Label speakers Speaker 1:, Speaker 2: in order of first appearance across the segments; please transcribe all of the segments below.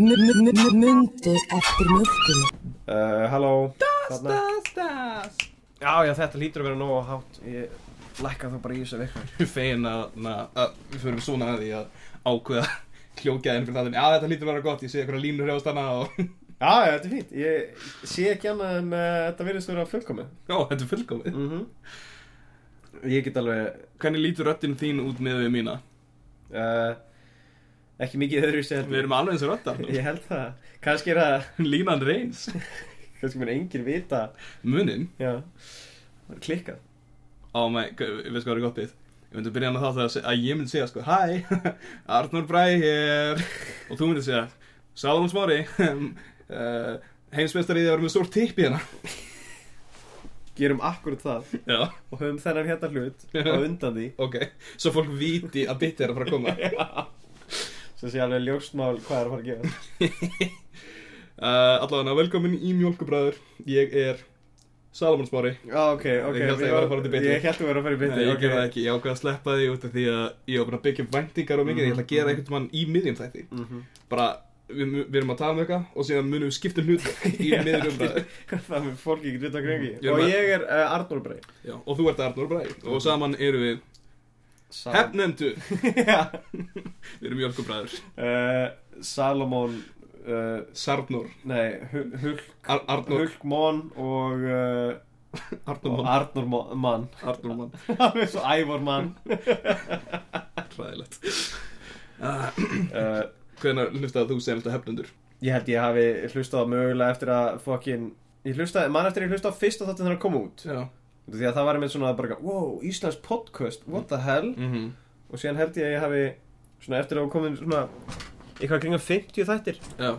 Speaker 1: Mundu eftir mjölkinu
Speaker 2: Uh, halló Þarna.
Speaker 3: Stas
Speaker 2: Já, já, þetta lítur að vera nógu hátt Ég lækka þá bara í þessu vekkar
Speaker 3: Fegin að, na, að við förum svona að því að ákveða kljókjaðin fyrir það Já, þetta lítur að vera gott, ég sé eitthvað línur hjá stanna og
Speaker 2: Já, já, þetta er fínt Ég sé ekki annað en uh, þetta virðist vera fullkomi
Speaker 3: Já, þetta er fullkomið
Speaker 2: mm Ég get alveg
Speaker 3: Hvernig lítur röddinn þín út með við mína?
Speaker 2: uh, Ekki mikið öðru sér
Speaker 3: Við erum alveg eins og röddar
Speaker 2: Ég held það Kannski er það
Speaker 3: Línan reyns
Speaker 2: Kannski mér engin vita
Speaker 3: Munin Oh
Speaker 2: Já Klikkað
Speaker 3: Ó, mæ, við veist hvað er gottið Ég myndi að byrja hann að þátt að, se- að ég myndi segja sko Hæ, Arnur Bræ hér Og þú myndi segja Sáðum smári uh, Heimsmeistari í því að vera með stórt tipp í hérna
Speaker 2: Gerum akkurat það
Speaker 3: Já,
Speaker 2: Og höfum þennan hérna hlut á undan því
Speaker 3: ok Svo fólk viti að bitti er að fara að koma
Speaker 2: Svo sé alveg ljóstmál hvað er að fara að gera
Speaker 3: uh, Allavega, velkomin í Mjólkubræður Ég er Salomon Smári
Speaker 2: Já, ok, ok
Speaker 3: Ég hélt að ég var að fara út í beinni.
Speaker 2: Ég held að vera að fara í beinni
Speaker 3: Nei, ég
Speaker 2: ok.
Speaker 3: gerði það ekki, ég ákvað að sleppa því út af því að ég var bara að byggja upp væntingar og mikið Ég ætla að gera einhvern mann í miðjum þætti
Speaker 2: Mhm.
Speaker 3: Bara, við, við erum að tala um eitthvað og síðan munum við skipta um hlut í
Speaker 2: Já,
Speaker 3: miðjum umræðu
Speaker 2: Það með fólki ekki vita hvað ekki
Speaker 3: Mm, Ég er
Speaker 2: Og
Speaker 3: með-
Speaker 2: ég er uh, Arnór Brey
Speaker 3: Já, og þú ert Arnur Bræði og saman eru við hefnendur
Speaker 2: Hefn
Speaker 3: Við erum Mjölkubræður,
Speaker 2: Eh, Salomon uh,
Speaker 3: Sarnur,
Speaker 2: Nei, Hu- Hulk
Speaker 3: Ar Arnur,
Speaker 2: Hulkmon og, uh,
Speaker 3: Arnur
Speaker 2: og
Speaker 3: Mann
Speaker 2: Arnór Mo- Mann
Speaker 3: Arnur Mann,
Speaker 2: Alveg svo Ævar Mann
Speaker 3: ræðilegt
Speaker 2: uh,
Speaker 3: Ah, Hvenær hlustaði þú sem þetta hefnendur?
Speaker 2: Ég held ég hafi hlustað á mögulega eftir að fokkin Ég hlustaði, mann eftir að ég hlustaði á fyrsta þáttin þegar að koma út
Speaker 3: Já
Speaker 2: Því að það var einmitt svona bara Wow, Íslands podcast, what the hell
Speaker 3: mm
Speaker 2: Og síðan held ég að ég hafi Svona eftir að hafa komið svona Eitthvað kringa 50 þættir
Speaker 3: Já,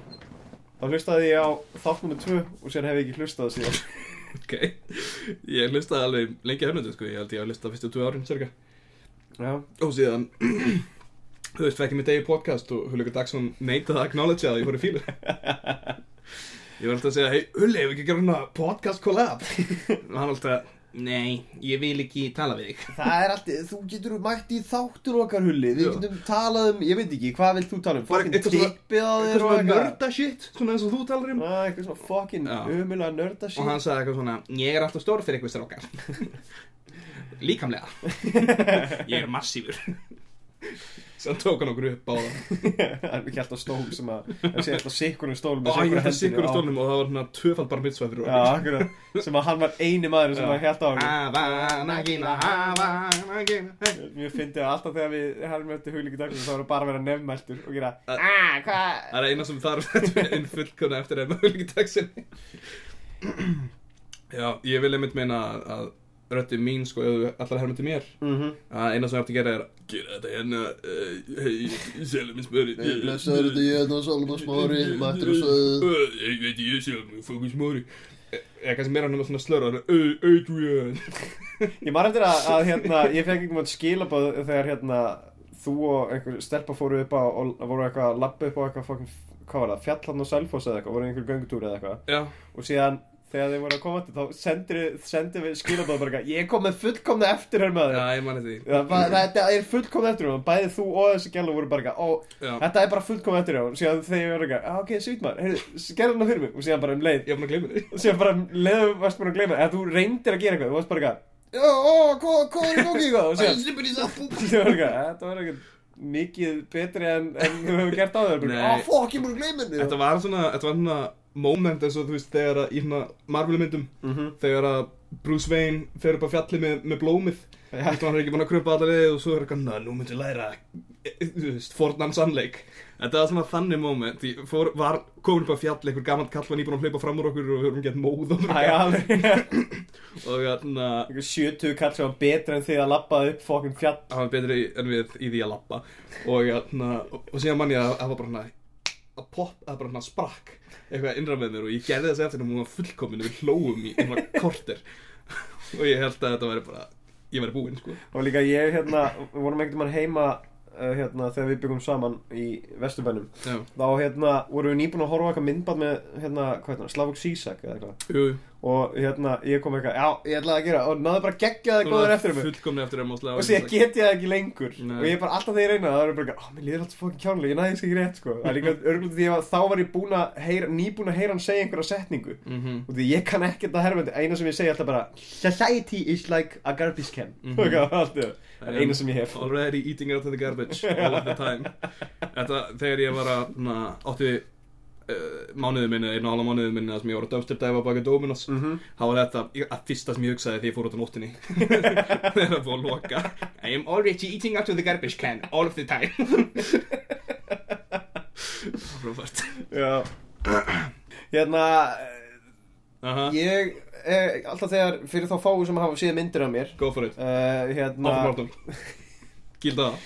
Speaker 2: Þá hlustaði ég á þátt nummer 2 og síðan hef ég ekki hlustað síðan.
Speaker 3: ok Ég hlustaði alveg lengi hefnendur sko, ég held ég að hlustaði fyrstu tvö árin sérka
Speaker 2: Já.
Speaker 3: Og síðan, þú veist, fekk ég mitt eigi podcast og Hulika Dagsson neitaði að acknowledge að ég fór í fílu Ég var alltaf að segja, hei, Hulli, ef ekki gera hérna podcast collab Og hann alltaf, nei, ég vil ekki tala við þig
Speaker 2: Það er alltaf, þú getur mætt í þáttur okkar hulli, við
Speaker 3: Já.
Speaker 2: getum talað um, ég veit ekki, hvað vilt þú tala um?
Speaker 3: Bara
Speaker 2: Fokkin
Speaker 3: eitthvað svona-
Speaker 2: tippið á
Speaker 3: Eitthvað
Speaker 2: þér og
Speaker 3: svona
Speaker 2: eitthvað.
Speaker 3: nörda shit, svona eins og þú talar um
Speaker 2: Já, eitthvað svona fokkin
Speaker 3: Já.
Speaker 2: umulega nörda
Speaker 3: Og hann
Speaker 2: shit.
Speaker 3: sagði eitthvað svona, ég er alltaf stór fyrir eitthvað strákar Líkamlega Ég er massífur Svo tók hann okkur upp á það
Speaker 2: Það er ekki alltaf stól sem að, það sé alltaf sikkunum stól
Speaker 3: Ó,
Speaker 2: með
Speaker 3: ég
Speaker 2: sikkunum
Speaker 3: hætti sigur á stólnum og það var svona tvöfald bara mitt fyrir
Speaker 2: Já, akkurat, sem að hann var eini maður sem
Speaker 3: Já. Ah.
Speaker 2: að held á hann.
Speaker 3: Havanagina, Havanagina hey.
Speaker 2: Mér fyndi að alltaf þegar við herrum eftir huglíki dagsins þá var bara að vera nefnmæltur og gera
Speaker 3: Ah.
Speaker 2: "Ah,
Speaker 3: Það er eina sem þarf inn fullkona eftir ef maður ekki dagsinni Já, ég vil einmitt meina að- að rötti mín, sko, ef þú allar herma til mér
Speaker 4: Mm.
Speaker 2: Mhm.
Speaker 3: að eina sem ég átti að gera er gera þetta hérna, eh, hei, sjálfum minn spöri
Speaker 4: Blessaður þetta ég hérna Salomon Smári, mættur og sögðu
Speaker 3: Ég veit ég sjálfum, fókus móri Ég kannski meira hann um svona slörra Hey, Adrian
Speaker 2: Ég maður eftir að, að hérna, ég fekk einhvern veginn skilabóð þegar hérna, þú og einhver stelpa fóru upp á og voru eitthvað að labba upp á eitthvað fokkin, hvað var það, fjallarn og selfoss eða eitthvað, voru einhver göngutúr eða eitthvað
Speaker 3: Já,
Speaker 2: og síðan þegar þeir voru að koma til þá sendir, sendir við skilabóð bara eitthvað, ég kom með fullkomna eftirhermaði
Speaker 3: já, ég mani því
Speaker 2: Það var- Þetta er fullkomna eftirhermaði, bæði þú og þessi gælu voru bara eitthvað, ó,
Speaker 3: Já.
Speaker 2: þetta er bara fullkomna eftirhermaði og síðan þegar ég voru eitthvað, "Ah, ok, svít maður, heyrðu, gerðu hana fyrir mig og síðan bara um leið
Speaker 3: Ég var búin að gleyma því
Speaker 2: sem bara leiðu varst búin að gleyma eða þú reyndir að gera eitthvað, þú varst bara eitthvað "Já, ó, hvað hvað er í gangi eitthvað og síðan
Speaker 3: slipper því það
Speaker 2: þú var eitthvað, þetta var eitthvað mikið betri en, en þú hefur gert á þér
Speaker 3: Nei.
Speaker 2: bara, "Ah, "Ó,
Speaker 4: Fokk, ég múið að gleyma henni
Speaker 3: Þetta var svona, þetta var svona moment eins og þú veist þegar að í svona Marvel myndum
Speaker 2: Mhm.
Speaker 3: þegar að Bruce Wayne fer upp á fjalli með, með blómið
Speaker 2: Já.
Speaker 3: Þetta var ekki búin að kröpa alla leið og svo er eitthvað, "Na, nú myndi læra eh, þú veist, fornan sannleik Þetta var svona þannig moment, ég fór, var komin upp á fjalli, einhver gamall kall var nýbúin að hlaupa fram úr okkur og við vorum gett móð og
Speaker 2: Það er alveg
Speaker 3: og hérna, þarna,
Speaker 2: Einhver 70 kall sem var betra en þið að labbaði upp fokkin fjall
Speaker 3: hérna, hann var betri en við í því að lappa og, þarna, og, og síðan mann ég að það var bara hana að popp að bara hann sprakk eitthvað innra með mér og ég gerði þess eftir og hún var fullkomin við hlóum í einhverja korter og ég held að þetta væri bara ég væri búinn sko
Speaker 2: Og líka ég, hérna, við vorum einhvern veginn heima uh, hérna, þegar við byggum saman í Vesturbænum
Speaker 3: Já.
Speaker 2: þá hérna, vorum við nýbúin að horfa á eitthvað myndband með hérna, hvað hérna, Slavok Sísak eða eitthvað
Speaker 3: Jú, jú.
Speaker 2: og hérna, ég kom eitthvað, já, ég ætlaði að gera og náði bara geggjaði
Speaker 3: Hún
Speaker 2: góður
Speaker 3: var
Speaker 2: eftir mig
Speaker 3: fullkomni eftir um og
Speaker 2: og síðan get ég það ekki lengur
Speaker 3: Nei.
Speaker 2: og ég er bara alltaf þegar reyna það er bara, eitthvað, ó, mér líður alltaf fokkin kjánlega, ég næði þess ekki rétt sko. það er líka örgulega því að þá var ég búin að heyra, nýbúin að heyra hann segja einhverja setningu
Speaker 3: Mhm.
Speaker 2: og því ég kann ekkert að herrmyndi eina sem ég segi er alltaf bara society is like a garbage can mm
Speaker 3: Mhm.
Speaker 2: -hmm. það er eina sem ég hef
Speaker 3: Already eating out of the garbage all of the time Þetta þegar ég var að na, átti uh, mánuðið minni, einu ála mánuðið minni þar sem ég var að döfstir dæfa baki Dominos mm -hmm. þá var þetta ég- að fyrsta sem ég hugsaði þegar ég fór út á nóttinni þegar það fór að loka I am already eating out of the garbage can all of the time Robert
Speaker 2: Já. hérna
Speaker 3: Aha,
Speaker 2: ég eh, alltaf þegar fyrir þá fáu sem hafa séð myndir af mér
Speaker 3: Go for it
Speaker 2: Uh, hérna,
Speaker 3: Áfram, áfram Gilda það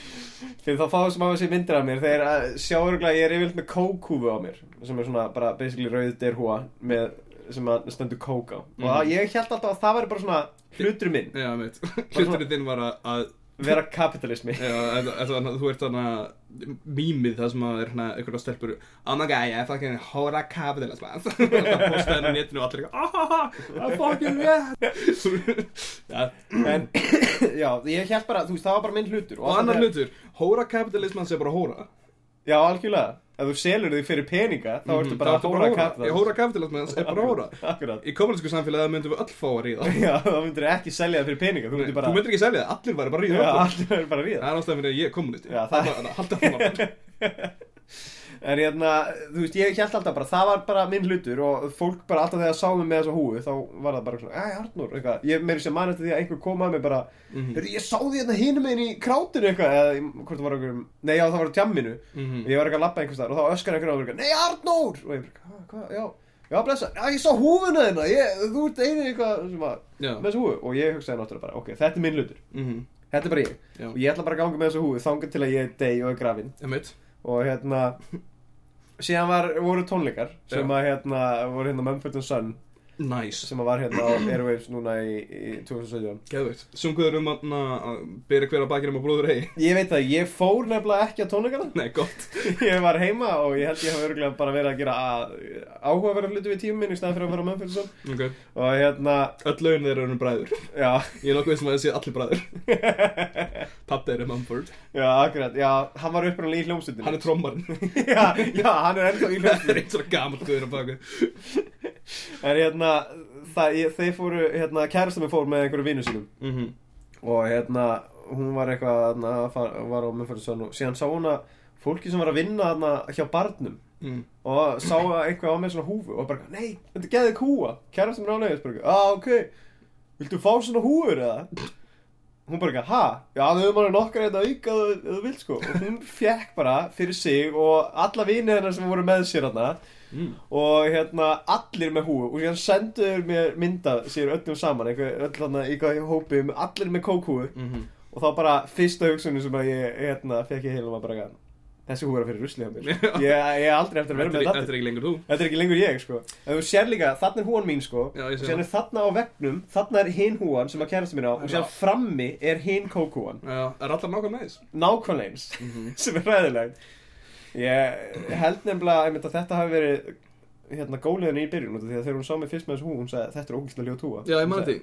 Speaker 2: fyrir þá fáið sem hafa sér myndir af mér þeir uh, sjá örgulega ég er yfirleitt með kókúfu á mér sem er svona bara basically rauð derhúa með, sem að stendur kók á og
Speaker 3: Mhm.
Speaker 2: að, ég held alltaf að það væri bara svona hlutur minn,
Speaker 3: Já, meit Hluturinn þinn var að- að
Speaker 2: vera kapitalismi
Speaker 3: Já, en- en þannig að þú ert þarna mýmið það sem að er hérna einhverja stelpur Oh my god, yeah, fucking hóra kapitalist man Það postaði henni á netinu og allir eitthvað
Speaker 2: "Ah,
Speaker 3: Ahaha, það er fucking rétt ja,
Speaker 2: en já, ég held bara, þú veist, það var bara minn hlutur
Speaker 3: Og
Speaker 2: alltaf
Speaker 3: annar
Speaker 2: þegar-
Speaker 3: hlutur, hóra kapitalisman sé bara hóra
Speaker 2: Já, algjörlega, ef þú selur þig fyrir peninga þá ertu bara
Speaker 3: Mm, Það Mhm, ertu
Speaker 2: hóra
Speaker 3: Ég,
Speaker 2: kapitalist
Speaker 3: Hóra kapitalisman sé bara hóra
Speaker 2: Akkurat,
Speaker 3: Í komunisku samfélagi myndum við öll fá að ríða
Speaker 2: já, þá myndir ekki selja það fyrir peninga þú myndir bara,
Speaker 3: Þú myndir ekki selja það, allir væri bara að
Speaker 2: já,
Speaker 3: ríða öllum.
Speaker 2: allir er bara að ríða
Speaker 3: Það er ástæðan fyrir að ég er komunisti
Speaker 2: Já, það-
Speaker 3: er Halda það maður
Speaker 2: En hérna, þú veist, ég held alltaf bara, það var bara minn hlutur og fólk bara alltaf þegar sá mig með þessa húfu, þá var það bara svona, æ, Arnur, eitthvað, ég meiri sem mann eftir því að einhver kom að mig bara, mm
Speaker 3: Mhm.
Speaker 2: ég sá því hérna hinum meginn í krátinu eitthvað, eða í- hvort það var einhverjum, nei, já, það var á tjamminu,
Speaker 3: Mhm.
Speaker 2: ég var eitthvað að labba einhvers þar og þá öskar einhverjum á mig, eitthvað, nei, Arnur, og ég bara, hvað, hvað, já, já, blessa, já, ég sá húfuna þina, ég, þú ert einu eitthvað sem að,
Speaker 3: Já.
Speaker 2: með þessa húfu, og ég hugsaði náttúrulega bara, ok, þetta er minn hlutur,
Speaker 3: Mhm,
Speaker 2: þetta er bara ég,
Speaker 3: Já.
Speaker 2: og ég ætla bara að ganga með þessa húfu, þangað til að ég dey og er grafin
Speaker 3: einmitt.
Speaker 2: og hérna síðan var, voru tónleikar sem
Speaker 3: Já.
Speaker 2: að hérna voru hérna Mumford Sun
Speaker 3: Nice
Speaker 2: sem að var hérna á Airwaves núna í, í 2017
Speaker 3: Geðveikt. Sunguður um að- að byrja hver að bakinu með bróður hei.
Speaker 2: ég veit það, ég fór nefnilega ekki á tónleikana
Speaker 3: Nei, gott.
Speaker 2: ég var heima og ég held ég hafa örgulega bara verið að gera áhugaverða hluti við tímum minn í staðan fyrir að fara á Mumford Sun
Speaker 3: Okay.
Speaker 2: og hérna,
Speaker 3: Öll laun þeirra eru bræður.
Speaker 2: já
Speaker 3: Ég er nokkuð veist sem að þessi allir bræður. Pappi er Mumford.
Speaker 2: já, akkurat, já, hann var upprannilega í hljómsutinu
Speaker 3: Hann er trommarinn.
Speaker 2: já, já, hann er ennþá í
Speaker 3: Það er
Speaker 2: hljómsutinu
Speaker 3: eins og gammal guður að baka.
Speaker 2: en hérna, það, ég, þeir fóru hérna, kærastum fór með einhverju vinnu sínum
Speaker 3: Mm -hmm.
Speaker 2: og hérna hún var eitthvað þarna, að fara- var á Mumfordson og síðan sá hún að fólki sem var að vinna þarna hjá barnum
Speaker 3: mm.
Speaker 2: og sá að einhver á með svona húfu og bara, nei, þetta geði ekki húa kærastum ráðlega, spurði, ah, ok viltu fá svona húfur eða? hún bara, ha, já, þau höfum alveg nokkar þetta auka ef þú- ef þú vilt sko og hún fekk bara fyrir sig og alla vinið hennar sem voru með sér þarna
Speaker 3: Mm.
Speaker 2: og hérna allir með húfu og síðan senduður mér mynda sér öllum saman, einhver, öll þarna í hvað hópi með- allir með kókhúfu
Speaker 3: Mm
Speaker 2: og þá bara fyrsta hugsunum sem að ég hérna, fekk ég heilum var bara eitthvað, þessi húra fyrir rusli á mér
Speaker 3: Já.
Speaker 2: ég, ég er aldrei eftir að vera
Speaker 3: Þetta
Speaker 2: með
Speaker 3: er-
Speaker 2: þetta
Speaker 3: þetta er ekki lengur þú.
Speaker 2: þetta er ekki lengur ég sko en þú sér líka, þarna er húan mín sko
Speaker 3: Já, ég
Speaker 2: og
Speaker 3: sé
Speaker 2: sér
Speaker 3: það.
Speaker 2: er þarna á vegnum, þarna er hinn húan sem að kærast mér á og sér
Speaker 3: Já.
Speaker 2: frammi er hinn kókúan
Speaker 3: Já, er allar nákvæm með þess?
Speaker 2: nákvæmlega eins
Speaker 3: Mhm.
Speaker 2: sem er ræðilegt ég held nefnilega einmitt að þetta hafi verið hérna góliðan í byrjun út af því að þegar hún sá mig fyrst með þessu hú hún sagði þetta er ógæslega ljót húa
Speaker 3: Já, ég manna því.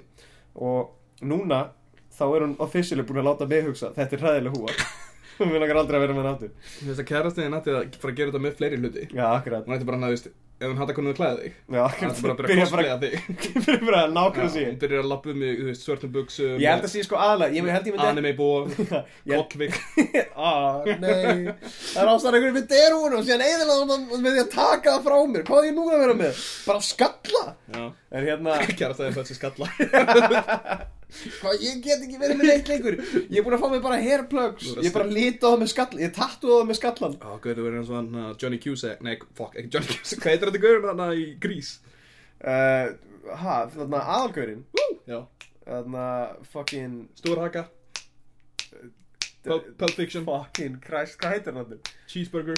Speaker 2: og núna þá er hún officially búin að láta mig hugsa þetta er hræðileg húa hún vil langar aldrei að vera með hann aftur
Speaker 3: Þess að kærastiðin ætti að fara að gera þetta með fleiri hluti.
Speaker 2: já, akkurat,
Speaker 3: Hún ætti bara hann að, veist, ef hún hattar hvernig hún klæði þig,
Speaker 2: já,
Speaker 3: hann
Speaker 2: akkurat.
Speaker 3: ætti bara að byrja að cosplaya þig.
Speaker 2: byrja bara að nákvæmlega
Speaker 3: Já, Hún
Speaker 2: síðan
Speaker 3: byrjar að lappa um í, þú veist, svörtum buksum.
Speaker 2: ég held að sé sko aðlega, ég held ég myndi
Speaker 3: Anime búa,
Speaker 2: Ég-
Speaker 3: kollvik.
Speaker 2: Ah, nei, það er ástæðan einhverjum við derúin og síðan eðilega með því að taka það frá mér hvað er ég núna að vera með? bara skalla
Speaker 3: Já.
Speaker 2: en hérna,
Speaker 3: Kærastaði fætt sér skalla.
Speaker 2: hvað, ég get ekki verið með neitt lengur ég er búin að fá mig bara hairplugs
Speaker 3: Þú er að
Speaker 2: ég er bara lítið á það með skalla ég tattu á það með skallan
Speaker 3: Ó, gauður, þú verður eins og hann uh, Johnny Cusack Nei, fuck, ekki Johnny Cusack Hvað heitir þetta gauður hann í grís?
Speaker 2: uh, ha, þarna aðalgörin
Speaker 3: Já
Speaker 2: þarna fucking
Speaker 3: Stór haka Pulp Pulp Fiction
Speaker 2: Fucking Christ, hvað heitir hann aftur?
Speaker 3: Cheeseburger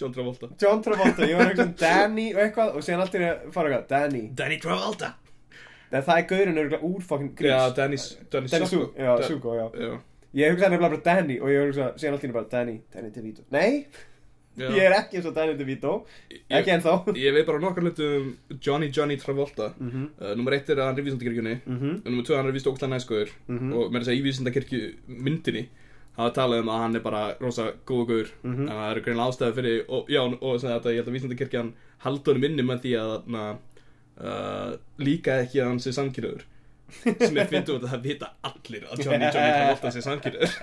Speaker 3: John Travolta
Speaker 2: John Travolta, ég var einhvern veginn Danny og eitthvað og síðan allt í einu fara eitthvað, Danny
Speaker 3: Danny Travolta
Speaker 2: en það er gaurinn örugglega úr fokkin grís
Speaker 3: Já, Danny, Danny,
Speaker 2: Danny Su, já,
Speaker 3: Da-
Speaker 2: Sugo, já
Speaker 3: Já,
Speaker 2: Ég hugsaði nefnilega bara Danny og ég hugsaði síðan allt í einu bara Danny, Danny DeVito Nei,
Speaker 3: já.
Speaker 2: ég er ekki eins og Danny DeVito
Speaker 3: Ég-
Speaker 2: ekki ennþá
Speaker 3: Ég veit bara nokkar hluti um Johnny Johnny Travolta mm
Speaker 2: Mhm.
Speaker 3: -hmm. Númer eitt er að hann er í vísindakirkjunni mm -hmm. Númer tvö hann er vist ógstlega næskuður mm
Speaker 2: Mhm.
Speaker 3: -hmm. Og með þess að segja í vísindakirkju myndinni Það er talað um að hann er bara rosa góða guður
Speaker 2: Mhm.
Speaker 3: En það eru greinlega ástæði fyrir Og já, og sem þetta, ég held að vísindakirkjan Haldi honum inni með því að na, uh, Líka ekki að hann sé samkynnaður Sem er fyndum að það vita allir Að Johnny Johnny Travolta sé samkynnaður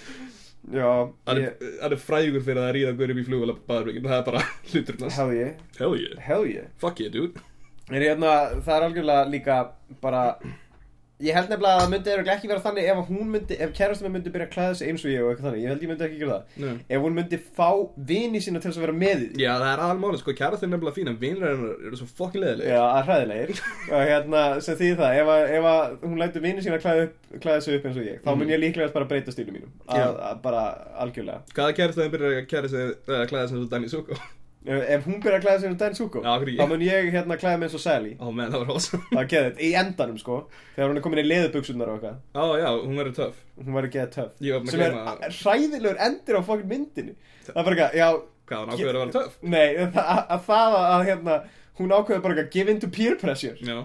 Speaker 2: Já,
Speaker 3: Hann
Speaker 2: ég,
Speaker 3: er- hann er frægur fyrir að ríða guður upp í flugvöla Það er bara hluturinn hans
Speaker 2: hell yeah,
Speaker 3: Hell yeah,
Speaker 2: hell yeah
Speaker 3: fuck yeah dude
Speaker 2: En hérna, það er algjörlega líka bara Ég held nefnilega að það myndi örugglega ekki vera þannig ef að hún myndi, ef kærastum myndi byrja að klæða sig eins og ég og eitthvað þannig, ég held ég myndi ekki gera það
Speaker 3: Nei.
Speaker 2: Ef hún myndi fá vini sína til þess að vera með í því
Speaker 3: Já, það er aðalmálið, sko, kæra þeir nefnilega fína, vinur hennar eru svo fokkin leðilega.
Speaker 2: Já, að hræðilegir og hérna, sem því það, ef, að, ef að hún lætur vini sína klæða, upp, klæða sig upp eins og ég þá mun ég líklega bara breyta stílu mínum
Speaker 3: Mm. Já.
Speaker 2: að, að bara algjörlega
Speaker 3: Hvaða kærast þeim byrjar að kæra sig, uh, klæða sem þú Danny Zuko?
Speaker 2: Ef, ef hún byrja að klæða sig eins og Dan Suko
Speaker 3: Já, af hverju
Speaker 2: þá
Speaker 3: ég?
Speaker 2: mun ég hérna klæða mig eins og Sally
Speaker 3: Ó, menn, það var rosa.
Speaker 2: Það er geðið, í endanum sko þegar hún er komin í leðubuksunar og eitthvað
Speaker 3: Ó, já, hún verður töff.
Speaker 2: hún var að geða töff
Speaker 3: Ég var búinn að
Speaker 2: sem er
Speaker 3: gleyma-
Speaker 2: a- hræðilegur endir á fokkin myndinni það er bara eitthvað, já
Speaker 3: Hvað, hún ákveður að vera töff?
Speaker 2: nei, það, að- að það að, að hérna hún ákveður bara eitthvað give in to peer pressure
Speaker 3: Já.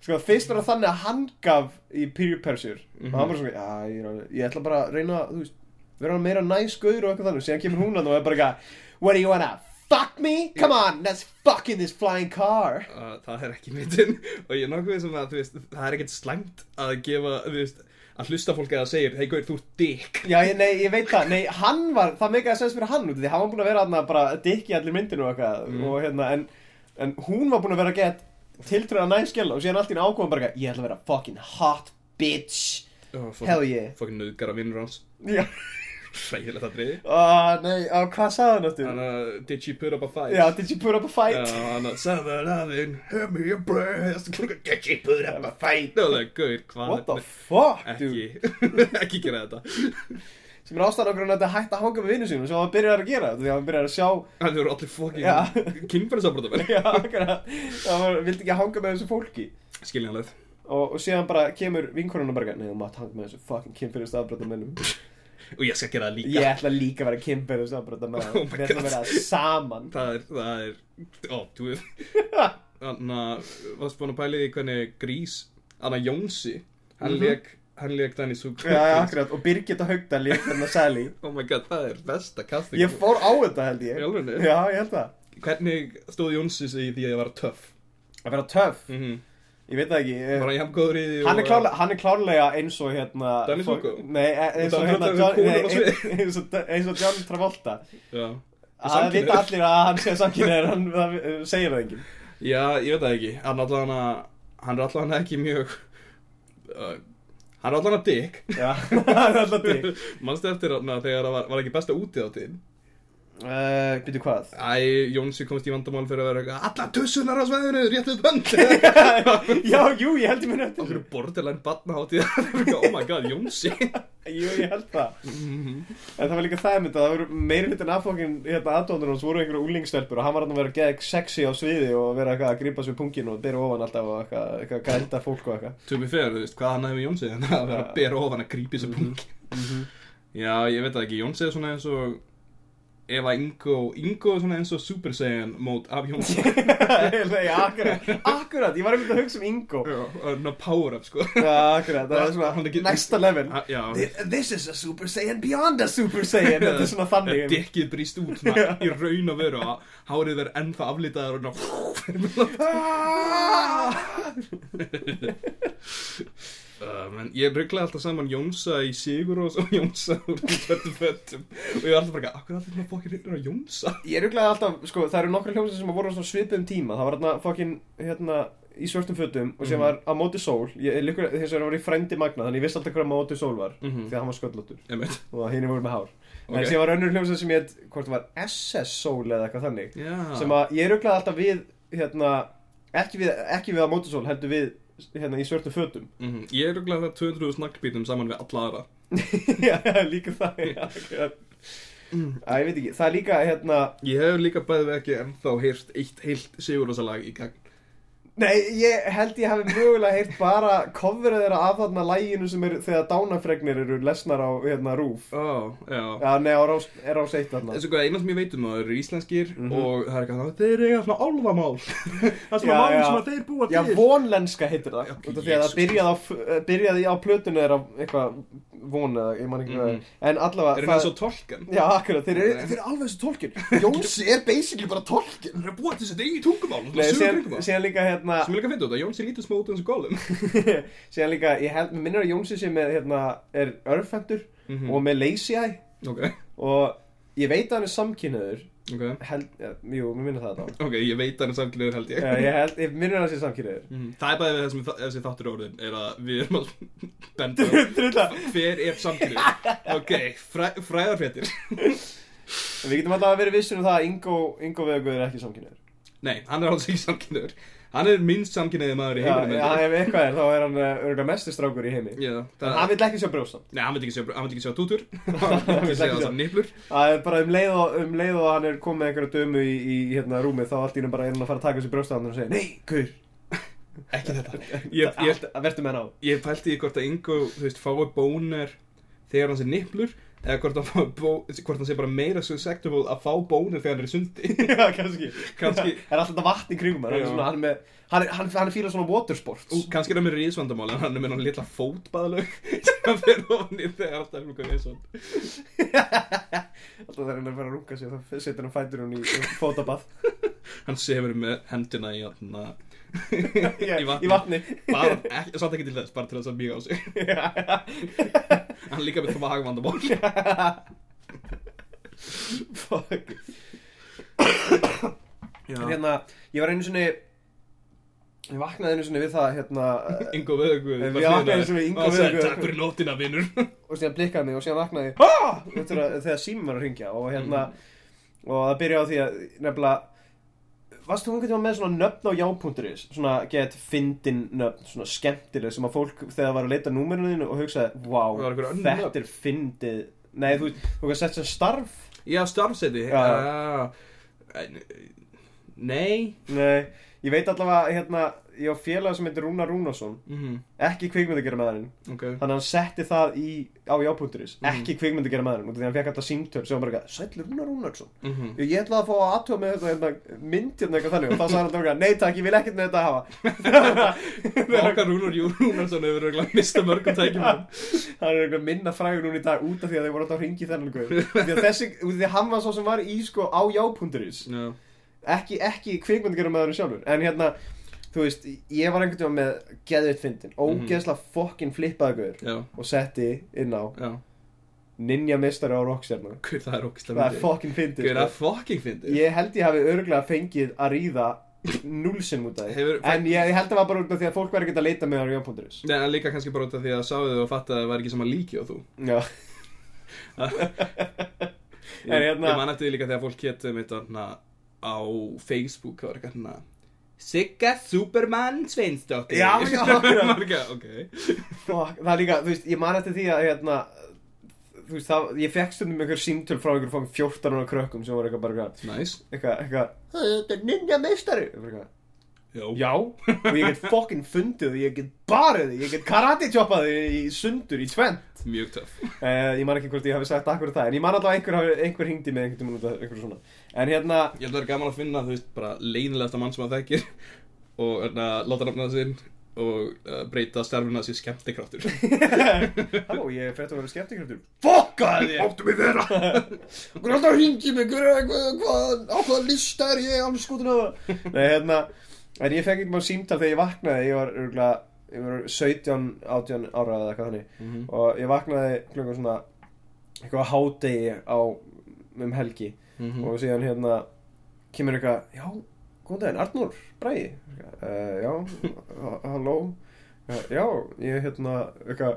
Speaker 2: sko fyrst var það þannig að hann gaf í peer pressure og hann var svona, já, ég, er alveg- ég ætla bara að reyna að, þú veist, vera meira næs gaur og eitthvað þannig síðan kemur hún að og er bara eitthvað what do you wanna, fuck me, come on let's fuck in this flying car
Speaker 3: Uh, það er ekki myndin. Og ég er nokkuð sem að, þú veist, það er ekkert slæmt að gefa, þú veist, að hlusta fólk eða segir, hei, gaur, þú ert dick.
Speaker 2: Já, ég, nei, ég veit það, nei, hann var, það meikaði sens fyrir hann út af því hann var búin að vera þarna bara dikki allir myndinu og eitthvað og hérna, en, en hún var búin að vera að geta tiltröða næskjala og síðan allt í einu ákvæðan bara eitthvað, ég ætla að vera fucking hot bitch
Speaker 3: Oh, fuck,
Speaker 2: Hell yeah.
Speaker 3: Fokkin nöðgar að vinnur hans.
Speaker 2: Já,
Speaker 3: Ræðilegt að driði.
Speaker 2: ah, nei, á, hvað sagði hann áttu?
Speaker 3: Þannig að, uh, did she put up a fight?
Speaker 2: Já, did you put up a fight?
Speaker 3: Já, hann að Seven Eleven, hand me your breast Get you put up a fight Það er alveg, gauð, hvað
Speaker 2: What the fuck, dude?
Speaker 3: Ekki, ekki gera þetta
Speaker 2: Sem er ástæðan okkur hann að þetta hætti að hanga með vinnu sínum sem hann byrjar að gera, því að hann byrjar að sjá
Speaker 3: Það eru allir
Speaker 2: Já.
Speaker 3: fokkin kynferðisafbrotamenn
Speaker 2: Já, okkur að hann var- vildi ekki hanga með þessu fólki
Speaker 3: Skiljanlega
Speaker 2: og, og síðan bara kemur vinkonun og bara, eitthvað, nei, þú mátt hanga með þessu fucking kynfyrist afbrotum
Speaker 3: Og ég skal gera það líka
Speaker 2: Ég ætla líka að vera kynferðis ábröða með
Speaker 3: Oh my
Speaker 2: Við ætlum að
Speaker 3: God.
Speaker 2: vera saman
Speaker 3: Það er, það er, ó, þú veist Þannig að, varst búin að pæli því hvernig Grís Þannig að Jónsi, hann mm hann leik Danny Sug
Speaker 2: Já, Mhm. já, akkurat Og Birgitta Haugdal ég þarna sæli
Speaker 3: Oh my god, það er besta casting
Speaker 2: Ég fór á þetta held ég
Speaker 3: Í alvörunni?
Speaker 2: Já, ég held það
Speaker 3: Hvernig stóð Jónsi sig í því að ég var töff?
Speaker 2: Að vera töff
Speaker 3: Mm -hmm.
Speaker 2: Ég veit það ekki eh,
Speaker 3: Bara ég haf góður í því
Speaker 2: Mhm. Hann er,
Speaker 3: og-
Speaker 2: klárlega, hann er klárlega eins og hérna
Speaker 3: uh, Danny
Speaker 2: fólk-
Speaker 3: Zuko?
Speaker 2: Nei, eh, eins og
Speaker 3: Danny
Speaker 2: hérna
Speaker 3: Zuko er
Speaker 2: John,
Speaker 3: kúlur
Speaker 2: nei,
Speaker 3: á svið.
Speaker 2: eins- eins, og, eins og John Travolta
Speaker 3: Já
Speaker 2: Það
Speaker 3: samkynhneigður.
Speaker 2: vita allir að hann sé samkynir Hann það, eh, segir það enginn
Speaker 3: Já, ég veit það ekki Hann er allan að Hann er allan ekki mjög uh, Hann er allan að dick
Speaker 2: Já, það er alltaf til
Speaker 3: Manstu eftir hann þegar það var, var ekki besta útið á tíðin
Speaker 2: uh, Býtu hvað?
Speaker 3: Æ, Jónsi komst í vandamál fyrir að vera eitthvað Alla tussunar á sveðinu, rétt við bönd
Speaker 2: Já, jú, ég held ég minn eftir
Speaker 3: Það
Speaker 2: þessu.
Speaker 3: eru borderline badnahátíð Oh my god, Jónsi
Speaker 2: Jú, ég held það En það var líka það mynd að það voru meiri hlutin aðfókin hérna aðdóndur hans voru einhverju úlingstelpur og hann var hann að vera gegg sexy á sviði og vera eitthvað að grípa sér pungin og byrja ofan alltaf og eitthvað, eitthvað grænda fólk og eitthvað
Speaker 3: To be fair, þú veist, hvað hann hefði með Jónsi Þannig að vera að bera ofan að grípi
Speaker 2: Mhm.
Speaker 3: þessu punkt Já, ég veit það ekki Jónsi er svona eins og Ef að Ingo, Ingo er svona eins og Super Saiyan mót af Jónsi
Speaker 2: Nei, akkurat, akkurat, ég var einhvern að hugsa um Ingo
Speaker 3: Já, og power up sko
Speaker 2: Já, akkurat, það er
Speaker 3: Hann er
Speaker 2: svona
Speaker 3: ekki-
Speaker 2: næsta level
Speaker 3: Ha- Já,
Speaker 2: This is a Super Saiyan beyond a Super Saiyan Þetta er svona þannig
Speaker 3: Dikkið brýst út svona, í raun og veru og hárið verður ennþá aflitaðar og svona
Speaker 2: Ah!
Speaker 3: uh, menn, Ég rugglaði alltaf saman Jónsa í Sigur og Jónsa úr fötum fötum og ég var alltaf bara eitthvað, akkur allir maður fokkir reynir á Jónsa
Speaker 2: Ég rugglaði alltaf, sko, það eru nokkra hljómsið sem voru á svona svipum tíma Það var hérna fokkin, hérna, í svörtum fötum
Speaker 3: Mhm.
Speaker 2: Og sem var á móti sól Ég er líkur, þess að það var í frændi magna Þannig ég vissi alltaf hver á móti sól var
Speaker 3: Mhm.
Speaker 2: Því að hann var sköllóttur
Speaker 3: Einmitt.
Speaker 2: Og hinn voru með hár
Speaker 3: Ok.
Speaker 2: En sem var önnur hljómsið sem ég heit, hvort það var SS sól eða eitthvað þannig
Speaker 3: Já,
Speaker 2: Sem að ég rugglaði alltaf við, hérna, ekki við, ekki við á móti sól Heldur við, hérna, í svörtum fötum
Speaker 3: Mhm, Ég rugglaði það 200 snakkbítum saman við alla aðra
Speaker 2: Já, líka það, já, akkurat. hérna. Æ, ég veit ekki, það er líka, hérna,
Speaker 3: Ég hef líka bæðið ekki ennþá heyrt eitt heilt sigurásalag í gang
Speaker 2: Nei, ég held ég hafi mögulega heyrt bara coverið þeirra af þarna læginu sem er þegar dánafregnir eru lesnar á hérna rúf.
Speaker 3: Ó, já
Speaker 2: Já, nei, á rás, er á seitt þarna.
Speaker 3: Þessu hvað, eina sem ég veit um það eru íslenskir
Speaker 2: Mhm.
Speaker 3: og það er ekki að þeir eiga svona álfamál Það er svona
Speaker 2: Já,
Speaker 3: mál
Speaker 2: já.
Speaker 3: sem að þeir búa til
Speaker 2: Já, vonlenska heitir það.
Speaker 3: Já,
Speaker 2: Okay, því að
Speaker 3: Jesus.
Speaker 2: það byrjaði á, f- byrjaði á plötunni þeirra eitthvað von eða ég man ekki hvað.
Speaker 3: Mhm.
Speaker 2: Mm. En allavega...
Speaker 3: Er það eins og tolkan?
Speaker 2: Já, akkurat, þeir eru,
Speaker 3: Nei.
Speaker 2: þeir eru alveg þessu tólkin.
Speaker 4: Jónsi er basically bara tolkin
Speaker 3: Það er búið til þessi degi tungumál
Speaker 2: Nei,
Speaker 3: Það er
Speaker 2: síðan,
Speaker 3: tungumál
Speaker 2: síðan líka hérna...
Speaker 3: Sem er líka að finna þetta, Jónsi lítið smá út eins og golum
Speaker 2: síðan líka, ég held, mér minnir að Jónsi sem er, hérna, er örfendur
Speaker 3: Mhm.
Speaker 2: og með lazy eye
Speaker 3: Ok,
Speaker 2: og ég veit að hann er samkynniður
Speaker 3: ok
Speaker 2: held, ja, jú, mér minnir það þá
Speaker 3: Ok, ég veit hann er samtluður held ég
Speaker 2: Já, ég held, ég minnir hann sér samkynniður
Speaker 3: Mhm. Það er bæðið við þessum þessi þáttur er orðin er að við erum að benda á
Speaker 2: Drulla,
Speaker 3: hver er samtluður Ok, fræ, fræðarfettir
Speaker 2: við getum alltaf að vera vissir um það að Ingo, Ingo Vegaguð er ekki samkynniður
Speaker 3: Nei, hann er alls ekki samkynniður Hann er minnst samkynniði maður í
Speaker 2: Já,
Speaker 3: heiminum
Speaker 2: já,
Speaker 3: held ég.
Speaker 2: ef eitthvað er, þá er hann örgulega mestur strákur í heimi
Speaker 3: Já,
Speaker 2: En
Speaker 3: það
Speaker 2: Hann vill ekki sjá brjóstan
Speaker 3: Nei, hann veit ekki sjá, hann veit ekki sjá tútur Hann veit ekki
Speaker 2: vill
Speaker 3: sjá
Speaker 2: ekki sjá.
Speaker 3: þessar nýplur
Speaker 2: Það er bara um leið og, um leið og hann er komið með einhverja dömu í, í hérna rúmið þá allt í hann bara er hann að fara að taka sér brjóstan og segja Nei, guður,
Speaker 3: Ekki þetta Ég, ég,
Speaker 2: verður með hann á
Speaker 3: ég pælti í hvort að Ingo, þú veist, fái bónir þegar hann sé nýplur eða hvort, hann fái bó, hvort hann sé bara meira susceptible að fá bónir þegar hann er í sundi
Speaker 2: Já, kannski
Speaker 3: Kannski-
Speaker 2: Það er alltaf þetta vatn í kringum hann, hann, er
Speaker 3: Já.
Speaker 2: svona, hann, er með, hann, er- hann, hann fýlar svona watersport
Speaker 3: Ú, kannski er það með rísvandamál en hann er með hann litla fótbaðlaug sem fyrir ofni þegar alltaf er mjög rísvand
Speaker 2: Alltaf þegar hann er að fara að runga sér þá setur hann fætur hann í í fótabað
Speaker 3: hann sefur með hendina í, atna,
Speaker 2: Í vatni, í
Speaker 3: vatni.
Speaker 2: vatni.
Speaker 3: bara, ekki, samt ekki til þess, bara til þess að mjög á sig hann er líka með þvagvandamál
Speaker 2: Fuck En
Speaker 3: hérna,
Speaker 2: Hérna, ég var einu sinni Ég vaknaði einu sinni við það hérna, eh,
Speaker 3: Ingo Veðugur
Speaker 2: Við vaknaði eins og við Ingo Veðurguð.
Speaker 3: takk fyrir nóttina vinnur
Speaker 2: og síðan blikkaði mig og síðan vaknaði ég, "Ah!" Þetta er að- þegar símum var að ringja og hérna
Speaker 3: Mm.
Speaker 2: og það byrjaði á því að nefnilega Varst þú einhvern veginn með svona nöfn á já.is svona get fyndin nöfn svona skemmtileg sem að fólk þegar var að leita númerinu þínu og hugsaði wow,
Speaker 3: Það var einhver önnur nöfn."
Speaker 2: þetta er fyndið Nei, þú þú hefur sett sem starf
Speaker 3: já, starfseti
Speaker 2: Já.
Speaker 3: nei
Speaker 2: Nei, ég veit allavega hérna, ég á félag sem heitir Rúnar Rúnarsson
Speaker 3: Mhm,
Speaker 2: ekki kvikmyndagera maðurinn
Speaker 3: ok
Speaker 2: þannig að hann setti það í, á jápunturis
Speaker 3: Mm.
Speaker 2: ekki kvikmyndagera maðurinn, því hann fekk alltaf símtöl sem var bara eitthvað, sæll Rúnar Rúnarsson
Speaker 3: Mhm.
Speaker 2: ég, ég ætlaði að fá að aðtjóða með þetta hérna, mynd hérna eitthvað þannig og þá sagði hann tóka, nei takk, ég vil ekkert með þetta hafa
Speaker 3: okkar Rúnar Jú Rúnarsson hefur örugglega mistað mörgum tækjum
Speaker 2: það er eitthvað minna frægur núna í dag út af því að þeir voru alltaf að ringi þennan guð því að þessi, út af því að hann var svo sem var í sko á jápunturis
Speaker 3: já
Speaker 2: ekki, ekki kvikmyndagjara maðurinn sjálfur en hérna, þú veist, ég var einhvern veginn með geðvitt fyndin, ógeðsla mm. fokkin flippaður
Speaker 3: Já,
Speaker 2: og setti inn á
Speaker 3: já,
Speaker 2: ninja mistari á rockstjarnu
Speaker 3: hver það er ógislega
Speaker 2: það er fokkin fyndið
Speaker 3: Hver það
Speaker 2: sko.
Speaker 3: fucking fyndið
Speaker 2: ég held ég hafi örgulega fengið að ríða núlsinn út af því
Speaker 3: Hefur-
Speaker 2: en ég held það var bara út af því að fólk verður ekki að leita með það á jón.is
Speaker 3: Nei, en líka kannski bara út af því að sáðu þau og fattaði að það var ekki sama líki og þú
Speaker 2: já,
Speaker 3: Ég,
Speaker 2: En hérna-
Speaker 3: ég man eftir því líka þegar fólk hétt um eitthvað hérna á Facebook það var eitthvað hérna Sigga Superman Sveinsdóttir
Speaker 2: Já, já, já.
Speaker 3: Marga, ok
Speaker 2: Fuck, það er líka, þú veist, ég man eftir því að hérna, þú veist, það, ég fekk stundum einhver símtöl frá einhver fangin 14 ára krökkum sem voru eitthvað bara eitthvað,
Speaker 3: Nice
Speaker 2: eitthvað, eitthvað, þetta er ninja mistari eitthvað,
Speaker 3: Já,
Speaker 2: Já, og ég get fokkin fundið því, ég get barið því, ég get karate-choppað því í sundur, í tvent.
Speaker 3: mjög töff
Speaker 2: Uh, ég man ekki hvort ég hafi sagt akkur það, en ég man alltaf að einhver, hafi- einhver hringdi með einhvern tímann út af einhverju svona. En hérna,
Speaker 3: Ég held að það er gaman að finna, þú veist, bara leynilegasta mann sem að þekkir og hérna, láta nafnað sinn og uh, breyta starfinu að sér skemmtikraftur
Speaker 2: halló, ég er frétt að vera skemmtikraftur. Fokkaði ég!
Speaker 3: Óttum við vera
Speaker 4: Hver er alltaf að ringi mig, hver er hvað, hvað, á hvað lista er ég, alls skotin að það
Speaker 2: Nei, hérna, en ég fekk einhvern símtal þegar ég vaknaði, ég var örgulega, ég var 17, 18 ára eða eitthvað þannig, og ég vaknaði klukkan svona, eitthvað hádegi á, um helgi, og síðan hérna, kemur eitthvað, já, góðan daginn, Arnur Bræði, uh, já, ha- halló, Eh, já, ég hérna, eitthvað,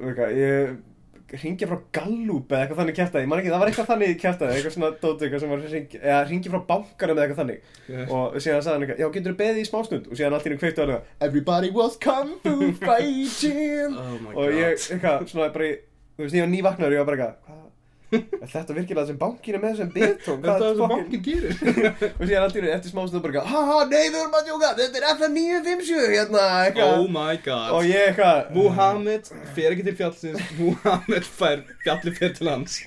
Speaker 2: eitthvað, ég ringja frá Gallup eða eitthvað þannig kjartaði, ég man ekki, það var eitthvað þannig kjartaði, eitthvað svona dóti, eitthvað sem var ringja, eða ringja frá bankanum eða eitthvað þannig og síðan sagði hann eitthvað, já, getur þú beðið í smástund og síðan allt í hennu kveiktu hann eitthvað, everybody was kung fu fighting
Speaker 3: Oh my
Speaker 2: og ég,
Speaker 3: god.
Speaker 2: eitthvað, svona bara, í- þú veist, ég var nývaknar og ég var bara eitthvað, hvað Er þetta virkilega það sem bankinn er með sem bitón?
Speaker 3: Þetta er það sem bankin gerir
Speaker 2: Og síðan allt í raun eftir smástund bara eitthvað, Haha, nei, við erum að djóka, þetta er FN 957 hérna eitthvað
Speaker 3: Oh my god
Speaker 2: Og ég eitthvað
Speaker 3: Muhammed fer ekki til fjallsins Muhammed fær fjalli fer til hans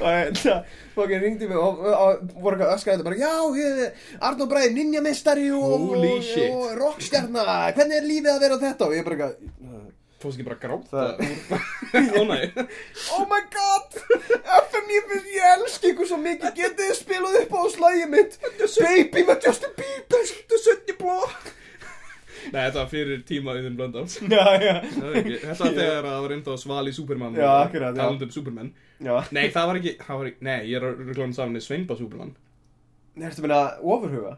Speaker 2: Og þetta, fokkin ringdi mig og, og, og voru eitthvað öskraði þetta bara Já, ég, Arnór Bræði, ninjamestari og,
Speaker 3: Holy
Speaker 2: og,
Speaker 3: shit.
Speaker 2: og rockstjarna Hvernig er lífið að vera þetta? Og ég bara eitthvað
Speaker 3: Fórst ekki bara að
Speaker 2: Það-
Speaker 3: gráta Ó nei
Speaker 2: Oh my god, FM, ég, finn- ég elski ykkur svo mikið Getið þið spilað upp á slagið mitt Baby með Justin Bieber Þetta er sönni blokk
Speaker 3: Nei, þetta var fyrir tíma Uðun Blöndals
Speaker 2: Já, já
Speaker 3: Það er ekki- Þetta var þegar að það var enda að svali Superman
Speaker 2: Já,
Speaker 3: og
Speaker 2: akkurat, já.
Speaker 3: Talandi um Superman
Speaker 2: Já
Speaker 3: Nei, það var ekki, það var ekki Nei, ég er að um rugglaðan saman með Sveinba Superman
Speaker 2: Nei, ertu að minna ofurhuga?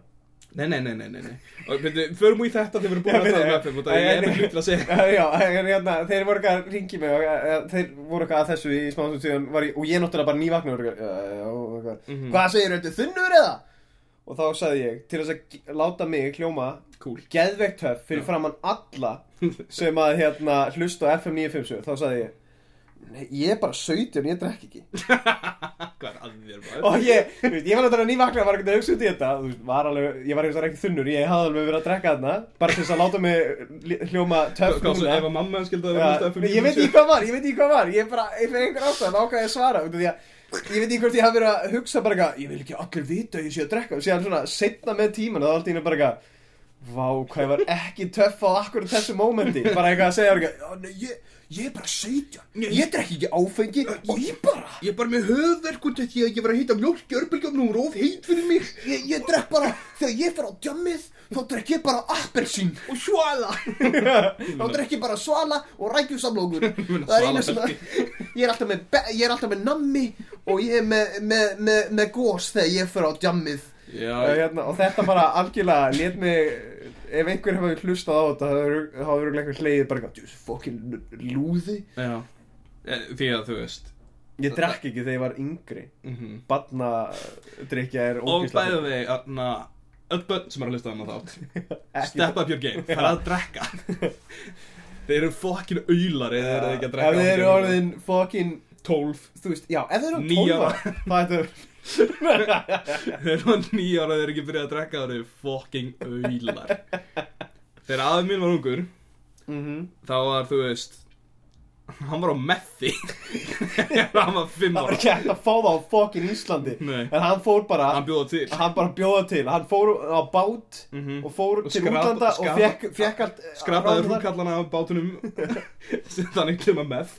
Speaker 3: Nei, nei, nei, nei, nei, nei. Og, byrju, Förum úr í þetta þegar við erum búin að
Speaker 2: Já,
Speaker 3: tala
Speaker 2: byrju,
Speaker 3: um FM og það
Speaker 2: já,
Speaker 3: er
Speaker 2: já,
Speaker 3: ekki hlut til að segja
Speaker 2: Já, já, en hérna, þeir voru eitthvað að ringi mig og eh, þeir voru eitthvað að þessu í smá stund síðan var ég, og ég náttúrulega bara nývakna og eitthvað, "Eh, já, já, og eitthvað,
Speaker 3: Mhm.
Speaker 2: hvað segir þetta, þunnur eða? Og þá sagði ég, til þess að g- láta mig hljóma
Speaker 3: Cool.
Speaker 2: geðveikt höf fyrir framann alla sem að hérna hlusta á FM 957, þá sagði ég, nei, ég er bara 17, ég drekk ekki.
Speaker 3: Hvað er að þér bara?
Speaker 2: Og ég, þú veist, ég var náttúrulega nývaknað, var ekkert að hugsa út í þetta, þú veist, var alveg, ég var eitthvað ekki þunnur, ég hafði alveg verið að drekka þarna, bara til þess að láta mig li- hljóma töff
Speaker 3: Hvað svo,
Speaker 2: núna.
Speaker 3: ef að mamma hans skildi að vera
Speaker 2: Já,
Speaker 3: hlusta FM
Speaker 2: nei, ég veit ekki hvað var, ég veit ekki hvað var Ég bara, ég fyrir einhver ástæðan ákvæði að svara út af Því að ég veit ekki hvort ég hafi verið að hugsa bara eitthvað Ég vil ekki að allir vita að ég sé að drekka Og síðan svona, setna með tíman, þá allt í einu bara eitthvað Vá, hvað ég var ekki töff á akkur þessu mómenti Bara eitthvað að segja eitthvað "Já, nei, ég, ég er bara 17 Ég drekki ekki áfengi Og ég bara,
Speaker 3: Ég er bara með höfverk út af því að ég var að heita mjölk í örbelgjöfnum og róf heit fyrir mig
Speaker 2: ég, ég drekk bara Þegar ég fer á djammið, þá drekk ég bara appelsín
Speaker 3: og svala
Speaker 2: Þá drekk ég bara svala og rækjusamlókur Það er einu sem
Speaker 3: Svalabelti.
Speaker 2: Ég er alltaf með, be- ég er alltaf með nammi Og ég er með, með, með, með gós Þegar ég fyrir á djammið
Speaker 3: Já,
Speaker 2: hérna, Og þetta bara algjörlega Lét mig, ef einhver hefur hlustað á þetta Þá hefur einhver hleyið bara eitthvað, Þessu fokkin lúði
Speaker 3: já Eh, Því að þú veist
Speaker 2: Ég drakk ekki þegar ég var yngri
Speaker 3: Mhm.
Speaker 2: Batna drikja er
Speaker 3: Og bæðu
Speaker 2: ógeðslega-
Speaker 3: þig, aðna Öll börn sem er að hlusta þannig þátt
Speaker 2: Ekki-
Speaker 3: Step up your game, fara að drekka Þeir eru fokkin aular eða þeir eru ekki að
Speaker 2: Ef
Speaker 3: drekka
Speaker 2: þið eru orðin fokkin
Speaker 3: 12
Speaker 2: Þú veist, já, ef þið eru
Speaker 3: Níu
Speaker 2: 12
Speaker 3: ára.
Speaker 2: ára, Það er
Speaker 3: Þeir eru nýja ára, þeir eru ekki byrjað að drekka þeir eru fokkin aular Þegar aðeins mín var ungur Þá var, þú veist Hann var á meffi Þegar hann var 5
Speaker 2: Það var
Speaker 3: ára
Speaker 2: ekki hægt að fá það á fokkin Íslandi
Speaker 3: Nei.
Speaker 2: En hann fór bara
Speaker 3: Hann bjóða til
Speaker 2: hann bara bjóða til, hann fór á bát
Speaker 3: Mhm.
Speaker 2: og fór
Speaker 3: Og
Speaker 2: til
Speaker 3: skrapa-
Speaker 2: útlanda
Speaker 3: skrapa-
Speaker 2: og fekk, fekk allt eh,
Speaker 3: skrapaði
Speaker 2: ráðið þar.
Speaker 3: hrúkallana af bátunum sem þannig klima með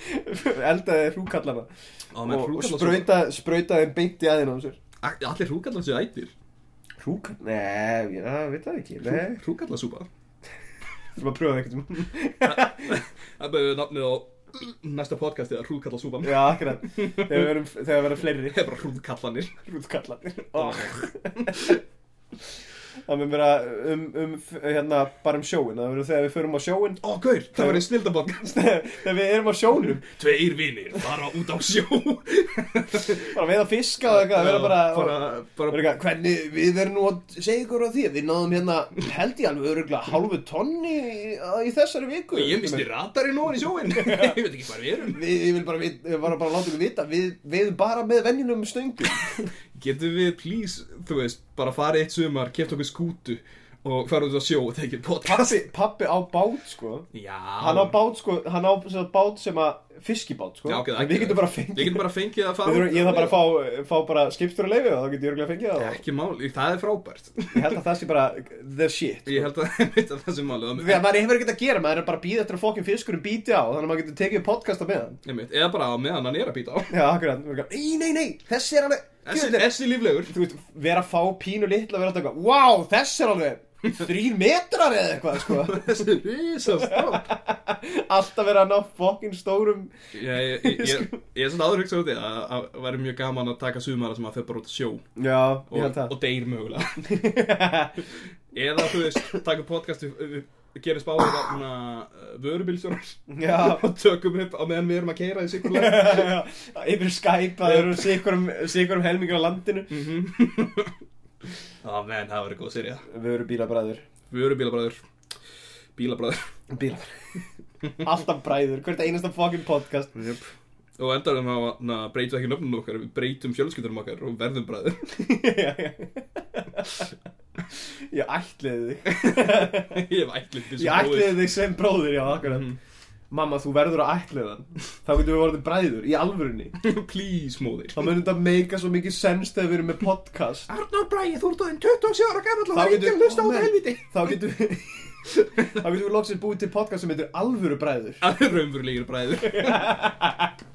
Speaker 2: eldaði hrúkallana
Speaker 3: og,
Speaker 2: og, og sprauta, sprautaði þeim beint í aðeina á sér
Speaker 3: allir hrúkallar séu ættir
Speaker 2: hrúkall, nei, ég ja, veit það ekki nei,
Speaker 3: hrúkallarsúpa
Speaker 2: þú maður pröfaði ekkert
Speaker 3: það bæði við nafnið á næsta podcasti að hrúkallarsúpa
Speaker 2: já, akkurat, þegar við verum, þegar við verum fleiri
Speaker 3: hefur hrúkallanir
Speaker 2: hrúkallanir það mun vera um, um hérna, bara um sjóin það verður þegar við förum á sjóin
Speaker 3: ó gaur, það var einn snilda podcast
Speaker 2: þegar við erum á sjónum
Speaker 3: tveir vinir, fara út á sjó
Speaker 2: bara veiða fiska og eitthvað, það verður bara, Það
Speaker 3: bara,
Speaker 2: er
Speaker 3: bara
Speaker 2: eitthvað, Hvernig, við verðum nú að segja ykkur á því að við náðum hérna, held ég alveg öruglega hálfu tonni í, í þessari viku
Speaker 3: ég misti ratarinn ofan í sjóin ég veit ekki hvað við erum
Speaker 2: Við, ég vil bara, við, við bara, bara láta ykkur vita, við veiðum bara með venjunum stöngum
Speaker 3: getum við please, þú veist, bara farið eitt sumar keft okkur skútu og fara út á sjó og tekið podcast
Speaker 2: Pappi, pappi á bát, sko
Speaker 3: já,
Speaker 2: Hann á bát, sko, hann á sem sagt bát sem að fiskibát, sko
Speaker 3: Já, ok, það
Speaker 2: En Við getum bara
Speaker 3: Við
Speaker 2: fengið
Speaker 3: getum bara fengið að fara
Speaker 2: Við þurfum- Ég þarf bara að fá, fá bara skiptur að leifi og þá getur ég öruglega fengið það og
Speaker 3: Ekki máli, það er frábært
Speaker 2: Ég held að það sé bara the shit
Speaker 3: Ég held að ég veit að það sem máli
Speaker 2: Því að maður hefur ekkert að gera, maður er bara að býða eftir að fokkin fiskurum býti á Þannig að maður getur tekið podcasta með hann
Speaker 3: Einmitt, Eða bara á meðan hann er að býta á
Speaker 2: Já, akkurat, við erum ekki, nei, nei, nei, þessi er alveg
Speaker 3: Þessi
Speaker 2: djöfull er-
Speaker 3: þessi líflegur
Speaker 2: Þú veist, vera að fá pínu litla að vera alltaf eitthvað Vá, þessi er alveg þrýr metrar eða eitthvað, sko
Speaker 3: Þessi risastór
Speaker 2: Alltaf vera að ná fokkin stórum
Speaker 3: Ég ég- ég- ég-
Speaker 2: Sko-
Speaker 3: ég er svona áður hugsað út í að að væri mjög gaman að taka sumara sem að þau bara út á sjó
Speaker 2: Já, ég
Speaker 3: og,
Speaker 2: held það
Speaker 3: og deyr mögulega Eða þú veist, taka podcast gerir spáður þarna uh, vörubilsjónar
Speaker 2: Já,
Speaker 3: og tökum upp á meðan við erum að keira í sikurlega
Speaker 2: yfir Skype að eru sikurum, sikurum helmingur á landinu
Speaker 3: Á menn, það verður góð serið
Speaker 2: Við erum bílabræður
Speaker 3: Vörubílabræður Bílabræður
Speaker 2: Bílabræður Alltaf bræður, hvert einasta fucking podcast
Speaker 3: Jöp. Og endarum á að na, breytum ekki nöfnum okkar, við breytum fjölskyldurum okkar og verðum bræður.
Speaker 2: Ég ætliði þig
Speaker 3: ég hef ætlið því
Speaker 2: Ég ætliði þig sem bróðir, já, akkurat
Speaker 3: Mhm.
Speaker 2: Mamma, þú verður að ætliða hann Þá getum við orðið bræður, í alvörunni
Speaker 3: Please, móðir.
Speaker 2: Þá munum þetta meika svo mikið sens þegar við erum með podcast
Speaker 3: Arnór Bræði, þú ert aðeins 27 ára gammal
Speaker 2: Þá getum- Ó, nei.
Speaker 3: helviti.
Speaker 2: Þá getum við Þá getum við loksins búið til podcast sem heitir Alvöru bræður
Speaker 3: Það er raunverulegir bræður.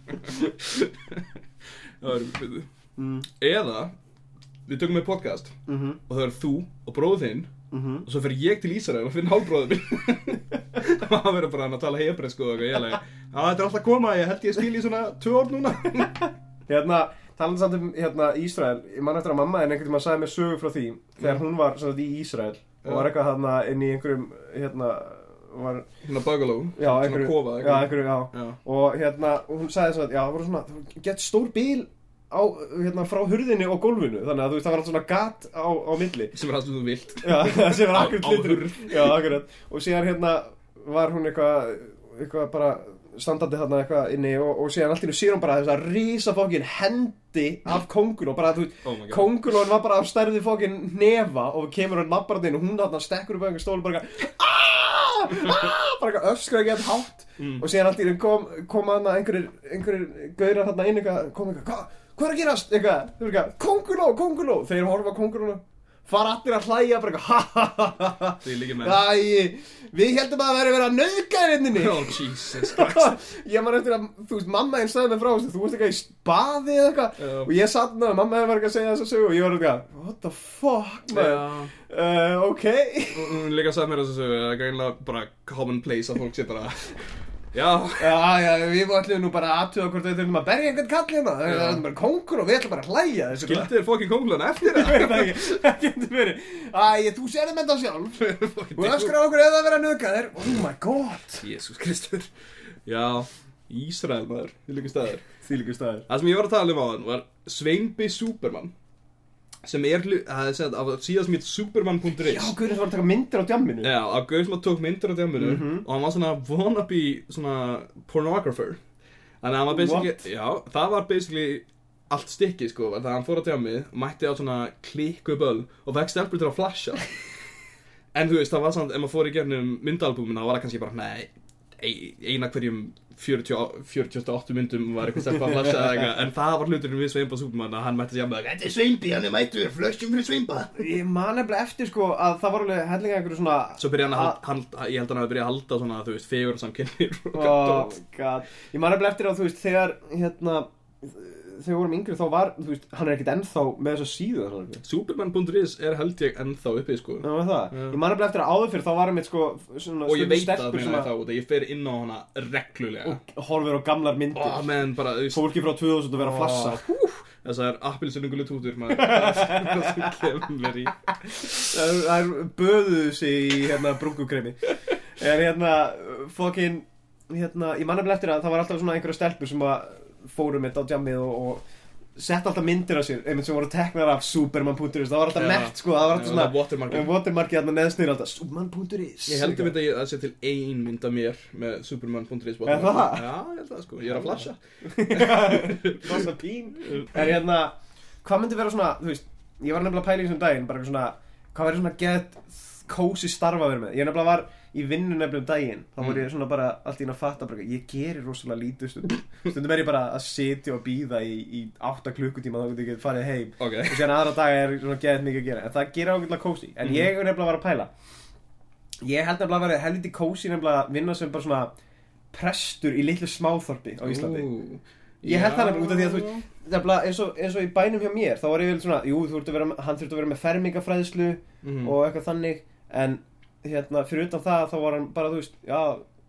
Speaker 3: það er við.
Speaker 2: Mm.
Speaker 3: Eða, við tökum með podcast
Speaker 2: mm -hmm.
Speaker 3: og það er þú og bróð þinn
Speaker 2: Mm
Speaker 3: og svo fer ég til Ísrael og finn hálfbróður minn og hann verður bara hann að tala hebresk og eitthvað, ég er alveg að þetta er alltaf að koma, ég held ég skil í svona tvö orð núna
Speaker 2: Hérna, talan samt um hérna, Ísrael Ég man eftir að mamma en einhvern tímann sagði mér sögu frá því Þegar hún var svona, í Ísrael Og var
Speaker 3: Mm. Já.
Speaker 2: eitthvað hérna inn í einhverjum Hérna, var
Speaker 3: svona bagaló,
Speaker 2: Já,
Speaker 3: svona
Speaker 2: einhverju
Speaker 3: kofa
Speaker 2: Já, einhverju, já
Speaker 3: já,
Speaker 2: Og hérna, hún sagði svona Já, það voru svona það Gett stór bíl á, hérna, frá hurðinni og gólfinu Þannig að þú veist, það var alltaf svona gat á, á milli
Speaker 3: sem er það sem þú vilt
Speaker 2: Já, það sem var
Speaker 3: Á-
Speaker 2: akkurat
Speaker 3: á
Speaker 2: litur
Speaker 3: hurð.
Speaker 2: Já, akkurat Og síðan hérna var hún eitthvað eitthvað bara standandi þarna eitthvað inni og, og síðan allt í nú sér hún bara þess að rísa fókin hendi af kóngul og bara þú veit,
Speaker 3: oh my god,
Speaker 2: kóngul og hann var bara af stærði fókin nefa og kemur hann labbarðin og hún þarna stekkur upp á einhver stólu bara eitthvað "Ah! Ah!" bara eitthvað öskra ekki að hátt
Speaker 3: Mm.
Speaker 2: og síðan allt í nú kom, kom hann einhverjir, einhverjir gaurar þarna inn eitthvað kom eitthvað, hvað, hvað er að gerast eitthvað, þú veit eitthvað, kónguló, kónguló þeir horfa kóngulónu fara allir að hlæja bara eitthvað, ha ha ha ha ha
Speaker 3: því líka með
Speaker 2: Æ, við heldum að það væri verið að nöðga henninni
Speaker 3: oh Jesus Christ
Speaker 2: Ég man eftir að, þú veist, mamma einn sagði mig frá þessu, Þú veist eitthvað í baði eða eitthvað
Speaker 3: Já.
Speaker 2: Og ég satt með mamma einn var eitthvað að segja þessu sögu Og ég var eitthvað, what the fuck, maður
Speaker 3: Já.
Speaker 2: uh, Ok
Speaker 3: Og hún líka sagði mér þessu sögu, það er greinlega bara commonplace að fólk sé bara já,
Speaker 2: Já, já, við ætlum nú bara að aðtuga hvort við þurfum að berja einhvern kall hérna Það er það bara kóngur og við ætlum bara að hlæja þessu
Speaker 3: gildi þér fokkin kóngulun eftir
Speaker 2: Ég veit það ekki, það getur verið Æ, þú sérðum þetta sjálf Þú
Speaker 3: það
Speaker 2: öskrar á okkur eða að vera nöðgæðir Oh my god
Speaker 3: Jesus Kristur já, Ísrael maður, því líka staður
Speaker 2: Þýlíku staðir
Speaker 3: Það sem ég var að tala um á hann var Sveinby Superman sem er hlut, það er segð, af síðan sem ég
Speaker 2: Já,
Speaker 3: superman.is
Speaker 2: Guðrins var að taka myndir á djamminu
Speaker 3: Já, að gauð sem að tók myndir á djáminu og hann var svona wannabe svona pornographer Þannig að hann var basically,
Speaker 2: What?
Speaker 3: já, það var basically allt stykki sko, þannig að hann fór á djámið mætti á svona klikku böl og vekst elpur til að flasha En þú veist, það var samt, ef maður fór í gegnum myndalbúmina, þá var það kannski bara, nei, ein- eina hverjum 40, 48 myndum var eitthvað stelpa að flasha eða eitthvað, en það var hluturinn við Sveinba Súpmann að hann mætti sér með Þetta er Sveinbi, hann er mættur, flössum fyrir Sveinba.
Speaker 2: Ég man nefnilega eftir sko að það var alveg hellinga einhverju svona
Speaker 3: Svo byrja hann að, hal- hal- ég held hann að byrja að halda svona, þú veist, fegur samkynir og
Speaker 2: oh,
Speaker 3: dót.
Speaker 2: God. Ég man nefnilega eftir að þú veist þegar hérna þegar við vorum yngri þá var þú veist hann er ekkert ennþá með þessa síðu þess að
Speaker 3: Superman.is er held ég ennþá uppið, sko.
Speaker 2: Já, með það.
Speaker 3: Já.
Speaker 2: Ég man nefnilega eftir að áður fyrir þá var einmitt sko svona
Speaker 3: Og ég
Speaker 2: stundum
Speaker 3: veit að
Speaker 2: stelpur
Speaker 3: það meina
Speaker 2: sem
Speaker 3: ég þá, út að ég fer inn á hana reglulega.
Speaker 2: og horfir á gamlar myndir
Speaker 3: Ó, menn, bara, þú veist,
Speaker 2: fólki frá 2000 að vera að flassa
Speaker 3: þessar appilsinungulu tútur, maður, það er það sem kemur í.
Speaker 2: Það er- það er böðuðu sig í hérna brúkukremi en hérna fokkin hérna, ég manna eftir að það var alltaf svona einhverja stelpur sem að fórum mitt á djammið og, og sett alltaf myndir af sér einmitt sem voru teknar af superman.is það var alltaf
Speaker 3: Já.
Speaker 2: mert sko, það var alltaf
Speaker 3: Já,
Speaker 2: svona
Speaker 3: það er watermarkið.
Speaker 2: en watermarkið hérna neðsnir alltaf superman.is
Speaker 3: Ég heldur mynd að ég að sé til ein mynd af mér með superman.is
Speaker 2: Er það?
Speaker 3: Já, ég held það sko, ég er að flasha
Speaker 2: Fasta pín En hérna, hvað myndi vera svona Þú veist, ég var nefnilega pæling sem daginn Bara eitthvað svona, hvað verður svona gett Kósi starfa að vera með Ég nefnilega var í vinnu nefnilega um daginn Þá voru ég svona bara allt í einu að fatta bara, eitthvað, Ég gerir rosalega lítið stundum Stundum er ég bara að sitja og býða í, í 8 klukkutíma Þá getur ég farið heim
Speaker 3: Ok,
Speaker 2: Og síðan aðra daga er svona gett mikið að gera En það gerir ágætlega kósi En ég er nefnilega að vera að pæla Ég held nefnilega að vera helviti kósi nefnilega að vinna sem bara svona prestur í litlu smáþorpi á Íslandi
Speaker 3: Ú,
Speaker 2: Ég held
Speaker 3: já.
Speaker 2: það nefnilega út af því að þú veist Nefnilega eins og, eins og í bænum hjá mér Þá var ég vel svona, jú, þú ert að vera með, hann þurft að vera með fermingafræðslu
Speaker 3: Mhm.
Speaker 2: Og eitthvað þannig En hérna, fyrir utan það þá var hann bara, þú veist Já,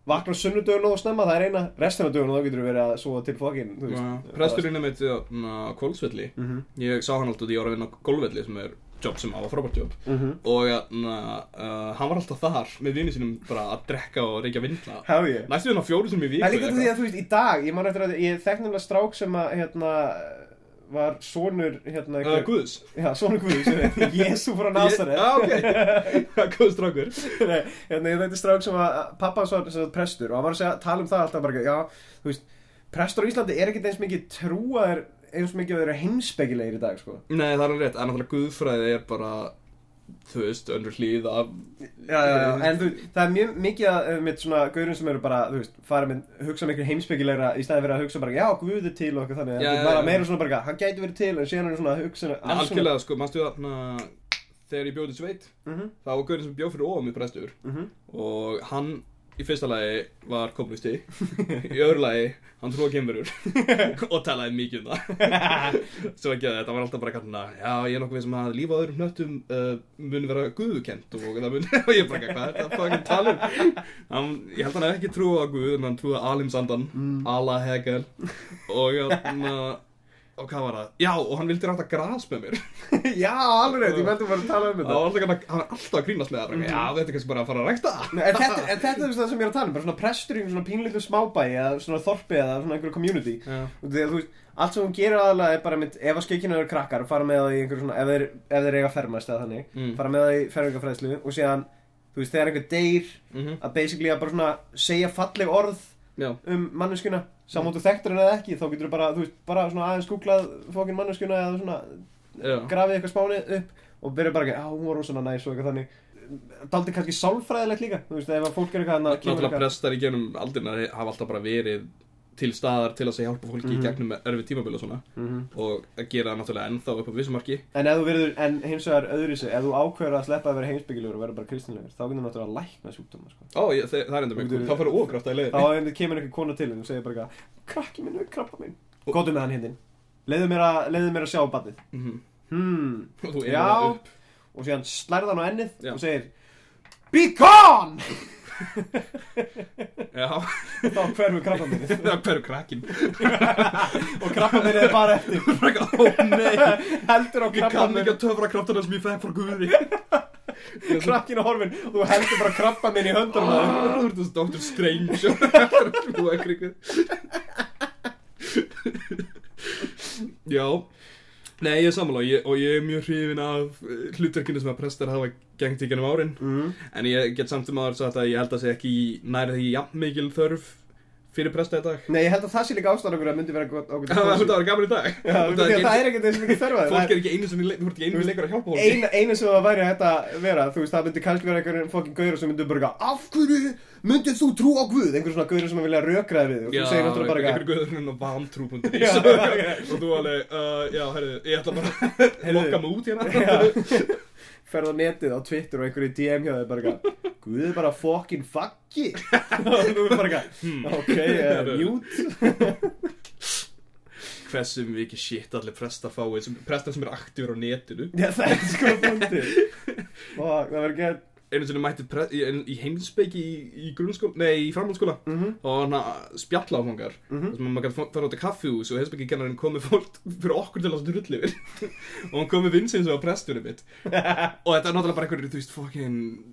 Speaker 2: vaknar sunnudögun og snemma, það er eina Restina dögun og þá getur þú verið að svo til fokkin Þú
Speaker 3: Já,
Speaker 2: veist
Speaker 3: Presturinn er mitt á Kólsvelli
Speaker 2: Mhm.
Speaker 3: Ég sá hann alltaf því ég var að vinna á Kólsvelli sem er jobb sem á að frábært jobb
Speaker 2: Mhm.
Speaker 3: og na, uh, hann var alltaf þar með vinið sínum bara að drekka og reykja vindla
Speaker 2: Hef ég
Speaker 3: Næstu vinna fjóru sem ég
Speaker 2: Það
Speaker 3: viku
Speaker 2: er líka út af því að þú veist, í dag, ég man eftir að ég þekk nefnilega strák sem að, hérna, var sonur hérna
Speaker 3: Uh, Guðs
Speaker 2: Já, sonur Guðs, ég veit, Jésu frá
Speaker 3: Ég-
Speaker 2: Nazaret
Speaker 3: Já, ok Guðs drákur
Speaker 2: Nei, hérna, ég veit strák sem að pappa hans var sem sagt prestur og hann var að segja, tala um það alltaf bara, já, þú veist, prestur á Íslandi er ekkert eins mikið trúaðir eins mikið að þeir eru heimspekilegir í dag, sko.
Speaker 3: Nei, það er alveg rétt En náttúrulega Guðfræði er bara Þú veist, önnur hlýð af
Speaker 2: Já, já, já, en þú, það er mjög mikið að, eh, með svona gaurum sem eru bara, þú veist, fara með, hugsa miklu heimspekilegra í staði fyrir að hugsa bara, já, Guð er til og eitthvað þannig, já,
Speaker 3: Já, já,
Speaker 2: já, bara
Speaker 3: já.
Speaker 2: meira svona bara, hann gæti verið til, en síðan er svona að hugsa,
Speaker 3: Nei, Algjörlega, sko, mannstu þarna Þegar ég bjóði sveit
Speaker 2: Mm
Speaker 3: Það var Guðin sem bjóð fyrir ofan mig prestur Og hann í fyrsta lagi var komunisti Í öðru lagi, hann trúa gemurur Og talaði mikið um það Svo ekki að þetta var alltaf bara kannan að Já, ég er nokkuð veist sem að lífa á öðrum hnöttum uh, Mun vera guðukent Og það mun, og ég bara ekki, hvað er þetta fucking tala um hann, Ég held hann hafi ekki trúa á guð En hann trúa alimsandan mm. Ala Hegel Og, hérna, hann, og hvað var það? Já, og hann vildi rætta gras með mér
Speaker 2: já, alveg rétt, ég meldum bara að tala um
Speaker 3: Það
Speaker 2: þetta.
Speaker 3: var alltaf, hann var alltaf að grínast með það bara, Já,
Speaker 2: Mhm.
Speaker 3: þetta er kannski bara að fara að rækta
Speaker 2: Nei, En þetta, en þetta er það sem ég er að tala um, bara svona prestur í einhverjum svona pínlítu smábæi eða svona þorpi eða svona einhverju community
Speaker 3: Já.
Speaker 2: og þegar þú veist, allt sem hún gerir aðalega er bara mynd, ef að skeikinu eru krakkar, fara með það í einhverju svona, ef þeir, ef þeir eiga að fermast eða þannig,
Speaker 3: Mm.
Speaker 2: fara með það í fermingafræðslu og síðan, þú veist, þegar einhver deyr
Speaker 3: Mhm.
Speaker 2: að basically að bara svona segja falleg orð
Speaker 3: Já,
Speaker 2: um manneskuna
Speaker 3: Mm.
Speaker 2: samvóttu þekktur henni eða ekki, þá getur þú bara, þú veist, bara svona aðeins googlað fókin manneskuna eða svona
Speaker 3: já
Speaker 2: grafið eitthvað spánið upp og byrja bara ekki, á, hún var rosalega næs og eitthvað þannig daldi kannski sálfræðilegt líka þú veist, ef að fólk er eitthvað hann að kemur
Speaker 3: Náttúrulega
Speaker 2: eitthvað
Speaker 3: prestar í genum aldrina hafa alltaf bara verið til staðar til að segja hjálpa fólki í gegnum erfið tímabil og svona
Speaker 2: Mhm.
Speaker 3: og að gera það náttúrulega ennþá upp á vissumarki
Speaker 2: en ef þú verður, en hins vegar öðru sig ef þú ákveður að sleppa að vera heimsbyggilegur og vera bara kristinlegur þá getur þú náttúrulega að lækna sjúkdóma sko.
Speaker 3: Ó, ég, þe- það er enda
Speaker 2: Þú
Speaker 3: mjög cool,
Speaker 2: getur-
Speaker 3: þá fyrir ógrátt að
Speaker 2: þá
Speaker 3: leiði
Speaker 2: ef þið kemur einhver kona til þín og segir bara eitthvað, krakki minn, er krabba minn gotum með hann hindin, leiðu mér að leiðu mér að sjá batnið
Speaker 3: Mhm.
Speaker 2: hmm.
Speaker 3: og þú er það
Speaker 2: já,
Speaker 3: upp
Speaker 2: og síðan slærða hann á ennið
Speaker 3: Já.
Speaker 2: og segir be gone
Speaker 3: Já,
Speaker 2: þá hverfur krabba minnið
Speaker 3: það hverju krakkin
Speaker 2: og krabba minnið er bara eftir
Speaker 3: Ó nei,
Speaker 2: heldur á
Speaker 3: ég
Speaker 2: krabba
Speaker 3: kann ekki að töfra kraftana sem ég fekk frá Guði
Speaker 2: krakkin á horfin og þú heldur bara krabba minn í höndunum á
Speaker 3: Ah.
Speaker 2: þeim.
Speaker 3: Þú ert þessi Dr. Strange og það er þú ekki ykkur Já Nei, ég er sammála og ég, og ég er mjög hrifin af eh, hlutverkinu sem að prestar hafa gengt í gennum árin
Speaker 2: Mm.
Speaker 3: En ég get samt um aður sagt að ég held að sé ekki nærið því jafn mikil þörf fyrir presta í dag
Speaker 2: Nei, ég held að það sé líka ástæðan okkur að myndi vera gott okkur til
Speaker 3: Ah, Það
Speaker 2: kósí.
Speaker 3: var gaman í dag
Speaker 2: Mm. Já,
Speaker 3: Út af
Speaker 2: því
Speaker 3: að
Speaker 2: að Það
Speaker 3: ekki-
Speaker 2: er ekkert eins og mikið þörfað
Speaker 3: Fólk er ekki einu sem þú ert ekki einu leikur að hjálpa fólki
Speaker 2: Eina, eina sem það væri að þetta vera, þú veist, það myndi kannski vera einhverjum fokkin gauður sem myndi bara eitthvað, af hverju myndið þú trú á Guð? Einhver svona gauður sem að vilja rökraði við og þú segir náttúrulega bara
Speaker 3: einhver
Speaker 2: eitthvað,
Speaker 3: guðurinn á
Speaker 2: Já,
Speaker 3: vantrú.is
Speaker 2: já,
Speaker 3: og þú alveg, uh, já, herru, ég ætla bara að lokka mig út hérna
Speaker 2: ferð á netið á Twitter og einhverju DM hjá þig bara eitthvað, Guð er bara fokkin faggi og þú er bara
Speaker 3: Hmm.
Speaker 2: eitthvað, ok, uh, mute
Speaker 3: Hversum við ekki shit allir prestar fáið sem, prestar sem eru aktífur á netinu
Speaker 2: Já, það er sko fundið og það verður gett
Speaker 3: einu sinni mætti pre- í, í heimspeiki í, í grunnskóla, nei, í framhaldsskóla og hann að spjalla áfangar mm -hmm. sem að maður gæti fara út í kaffihús og heimspeiki kennarinn komið fólk fyrir okkur til að láta rull yfir og hann komið vinsinn sem var presturinn mitt og þetta er náttúrulega bara einhverjir, þú veist, fucking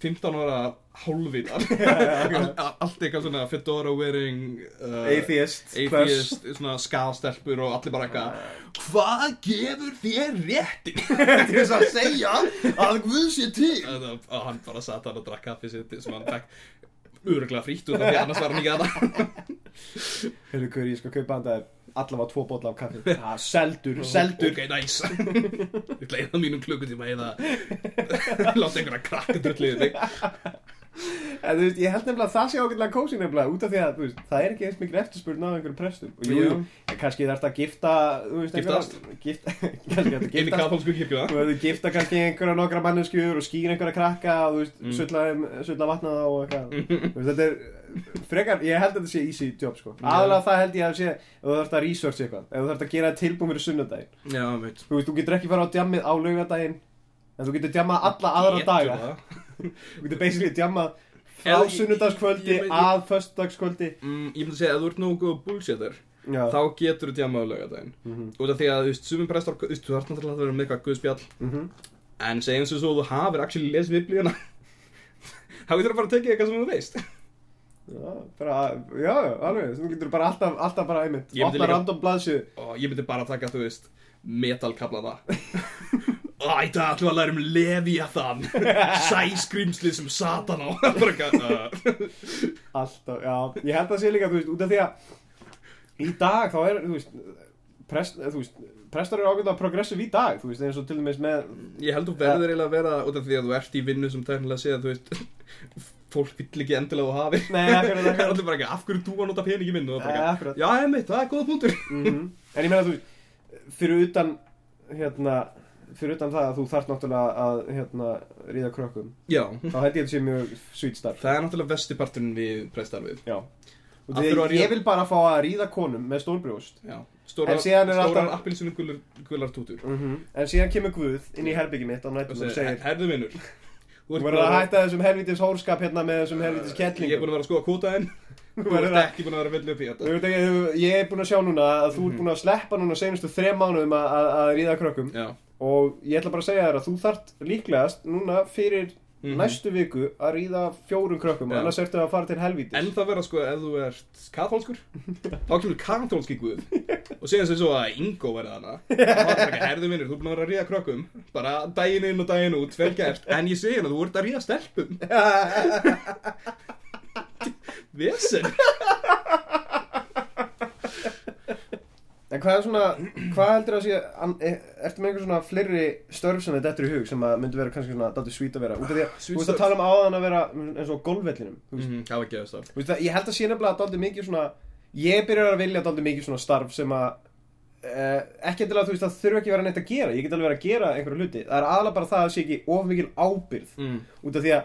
Speaker 3: 15 ára hálfvitar All, all- allt eitthvað svona fedora wearing uh,
Speaker 2: atheist, plus
Speaker 3: atheist, svona skastelpur og allir bara eitthvað Hvað gefur þér réttin?
Speaker 4: til þess að segja að Guð sé til
Speaker 3: Þetta- að hann bara satt hann og drakk kaffi sitt sem hann fekk öruglega frítt út af því annars var hann ekki að það
Speaker 2: Hefur hver ég skal kaupa handa þér allavega tvo botla af kaffi ah, Seldur, seldur
Speaker 3: ok, næs ég ætla að eða mínum klukkutíma eða láta einhverja krakka drullið þig
Speaker 2: En þú veist, ég held nefnilega að það sé ágætlega kósi nefnilega Út af því að, þú veist, það er ekki eins mikil eftirspurn á einhverjum prestum Og jú,
Speaker 3: Jú.
Speaker 2: jú, en kannski þarf að gifta, þú veist,
Speaker 3: Giftast.
Speaker 2: einhverja- Gift, kannski þarf að
Speaker 3: inn í
Speaker 2: giftast
Speaker 3: katholsku kirkjuna
Speaker 2: Þú hefur gifta kannski einhverja nokkra manneskjur og skýr einhverja krakka og þú veist, mm. sulla, þeim- sulla vatna þá og eitthvað Þú veist, Þetta er frekar, ég held að þetta sé easy job sko Aðalega það held ég að sé, ef þú þarft að research eitthvað Ef þú þarft að gera tilbúin fyrir sunnudaginn
Speaker 3: já, veit
Speaker 2: Þú veist, þú getur ekki fara á djammið á laugadaginn En þú getur djammað alla aðra daga Þú getur basically djammað Frá
Speaker 3: Eða ég-
Speaker 2: sunnudagskvöldi
Speaker 3: ég- ég-
Speaker 2: að föstudagskvöldi
Speaker 3: mm, ég myndi að segja að þú ert nógu góð bullshitter
Speaker 2: Já, Mhm.
Speaker 3: þá getur þú djamað á laugardaginn út af því að þú veist, sumum prestar þú veist, þú þarf náttúrulega að vera með eitthvað guðspjall
Speaker 2: Mhm.
Speaker 3: en segjum sem svo þú hafir actually lesið biblíuna þá getur þú bara að tekið eitthvað sem þú veist
Speaker 2: Já, bara, já, alveg, þú getur bara alltaf, alltaf bara einmitt,
Speaker 3: Ég myndi
Speaker 2: opna
Speaker 3: líka-
Speaker 2: random blaðsjöð
Speaker 3: og ég myndi bara taka, þú veist, metalkablana. Æ, það ætlum við að læra um Leviathan, sæskrýmslið sem satan á. Bara eitthvað, uh,
Speaker 2: Alltaf, já, ég held að sé líka, þú veist, út af því að í dag þá er, þú veist, prest, eh, þú veist prestar eru ágætt að progressiv í dag, þú veist, eins og til dæmis með,
Speaker 3: Ég held þú verður eiginlega að vera út af því að þú ert í vinnu sem tæknilega séð þú veist fólk vill ekki endilega að þú hafi
Speaker 2: Nei, akkurat, akkurat.
Speaker 3: Það er allir bara ekki, af hverju þú að nota peningi minn og það er
Speaker 2: Nei,
Speaker 3: bara
Speaker 2: akkurat. Mm.
Speaker 3: ekki, já, emitt, það er góða punktur
Speaker 2: en ég meina, þú veist, fyrir utan, hérna, fyrir utan það að þú þarft náttúrulega að, hérna, ríða krökkum,
Speaker 3: Já,
Speaker 2: þá held ég að þetta sé mjög sweet starf,
Speaker 3: það er náttúrulega vestiparturinn við prestarfið
Speaker 2: já. Og
Speaker 3: Af hverju
Speaker 2: því
Speaker 3: að
Speaker 2: að
Speaker 3: ríða-
Speaker 2: ég vil bara fá að ríða konum með stórbrjóst,
Speaker 3: Já, stóra,
Speaker 2: En síðan er
Speaker 3: stóra alltaf...
Speaker 2: alltaf-
Speaker 3: appilsinu gular, gular tútur
Speaker 2: en síðan kemur Guð inn í herbyggi mitt á
Speaker 3: og
Speaker 2: nættunum og
Speaker 3: Mhm. segir,
Speaker 2: segir,
Speaker 3: herðu vinnur Þú
Speaker 2: þú verður að hætta þessum helvitis hórskap hérna með þessum helvitis
Speaker 3: Ég er
Speaker 2: kettlingum.
Speaker 3: búin að vera að skoða kvota en
Speaker 2: Þú
Speaker 3: þú
Speaker 2: verður
Speaker 3: ert
Speaker 2: að-
Speaker 3: ekki búin að vera að vilja upp í
Speaker 2: Þú
Speaker 3: þetta
Speaker 2: veit ekki, þú- Ég er búin að sjá núna að
Speaker 3: Mhm.
Speaker 2: þú ert búin að sleppa núna senustu þrem mánuðum að, að, að ríða krökkum
Speaker 3: Já,
Speaker 2: og ég ætla bara að segja þér að þú þart líklegast núna fyrir
Speaker 3: Mhm.
Speaker 2: næstu viku að ríða fjórum krökkum
Speaker 3: Já.
Speaker 2: annars ertu að fara til helvítis
Speaker 3: En það verða sko ef þú ert katólskur þá kemur katólski guð og síðan sem svo að Ingo verða hana og hann taka herðu vinnur, þú er búin að vera að ríða krökkum bara daginn inn og daginn út, vel gert en ég segi hérna, þú ert að ríða stelpum Vesen
Speaker 2: En hvað er svona, hvað heldur að sé, an, er, ertu með einhver svona fleiri störf sem þið dettur í hug sem að myndu vera kannski svona dátur svít að vera? Út af því að,
Speaker 3: Ah, Sweet
Speaker 2: þú veist að
Speaker 3: störf.
Speaker 2: tala um áðan að vera eins og á golfvellinum, þú veist,
Speaker 3: Mhm, Það var gefist það
Speaker 2: þú veist að ég held að sé nefnilega að dátur mikið svona, ég byrjar að vilja dátur mikið svona starf sem að, eh, ekki endilega þú veist að þurfa ekki að vera neitt að gera, ég get alveg verið að gera einhverja hluti, það er aðalega bara það að sé ekki of mikil ábyrð,
Speaker 3: mm.
Speaker 2: út af því að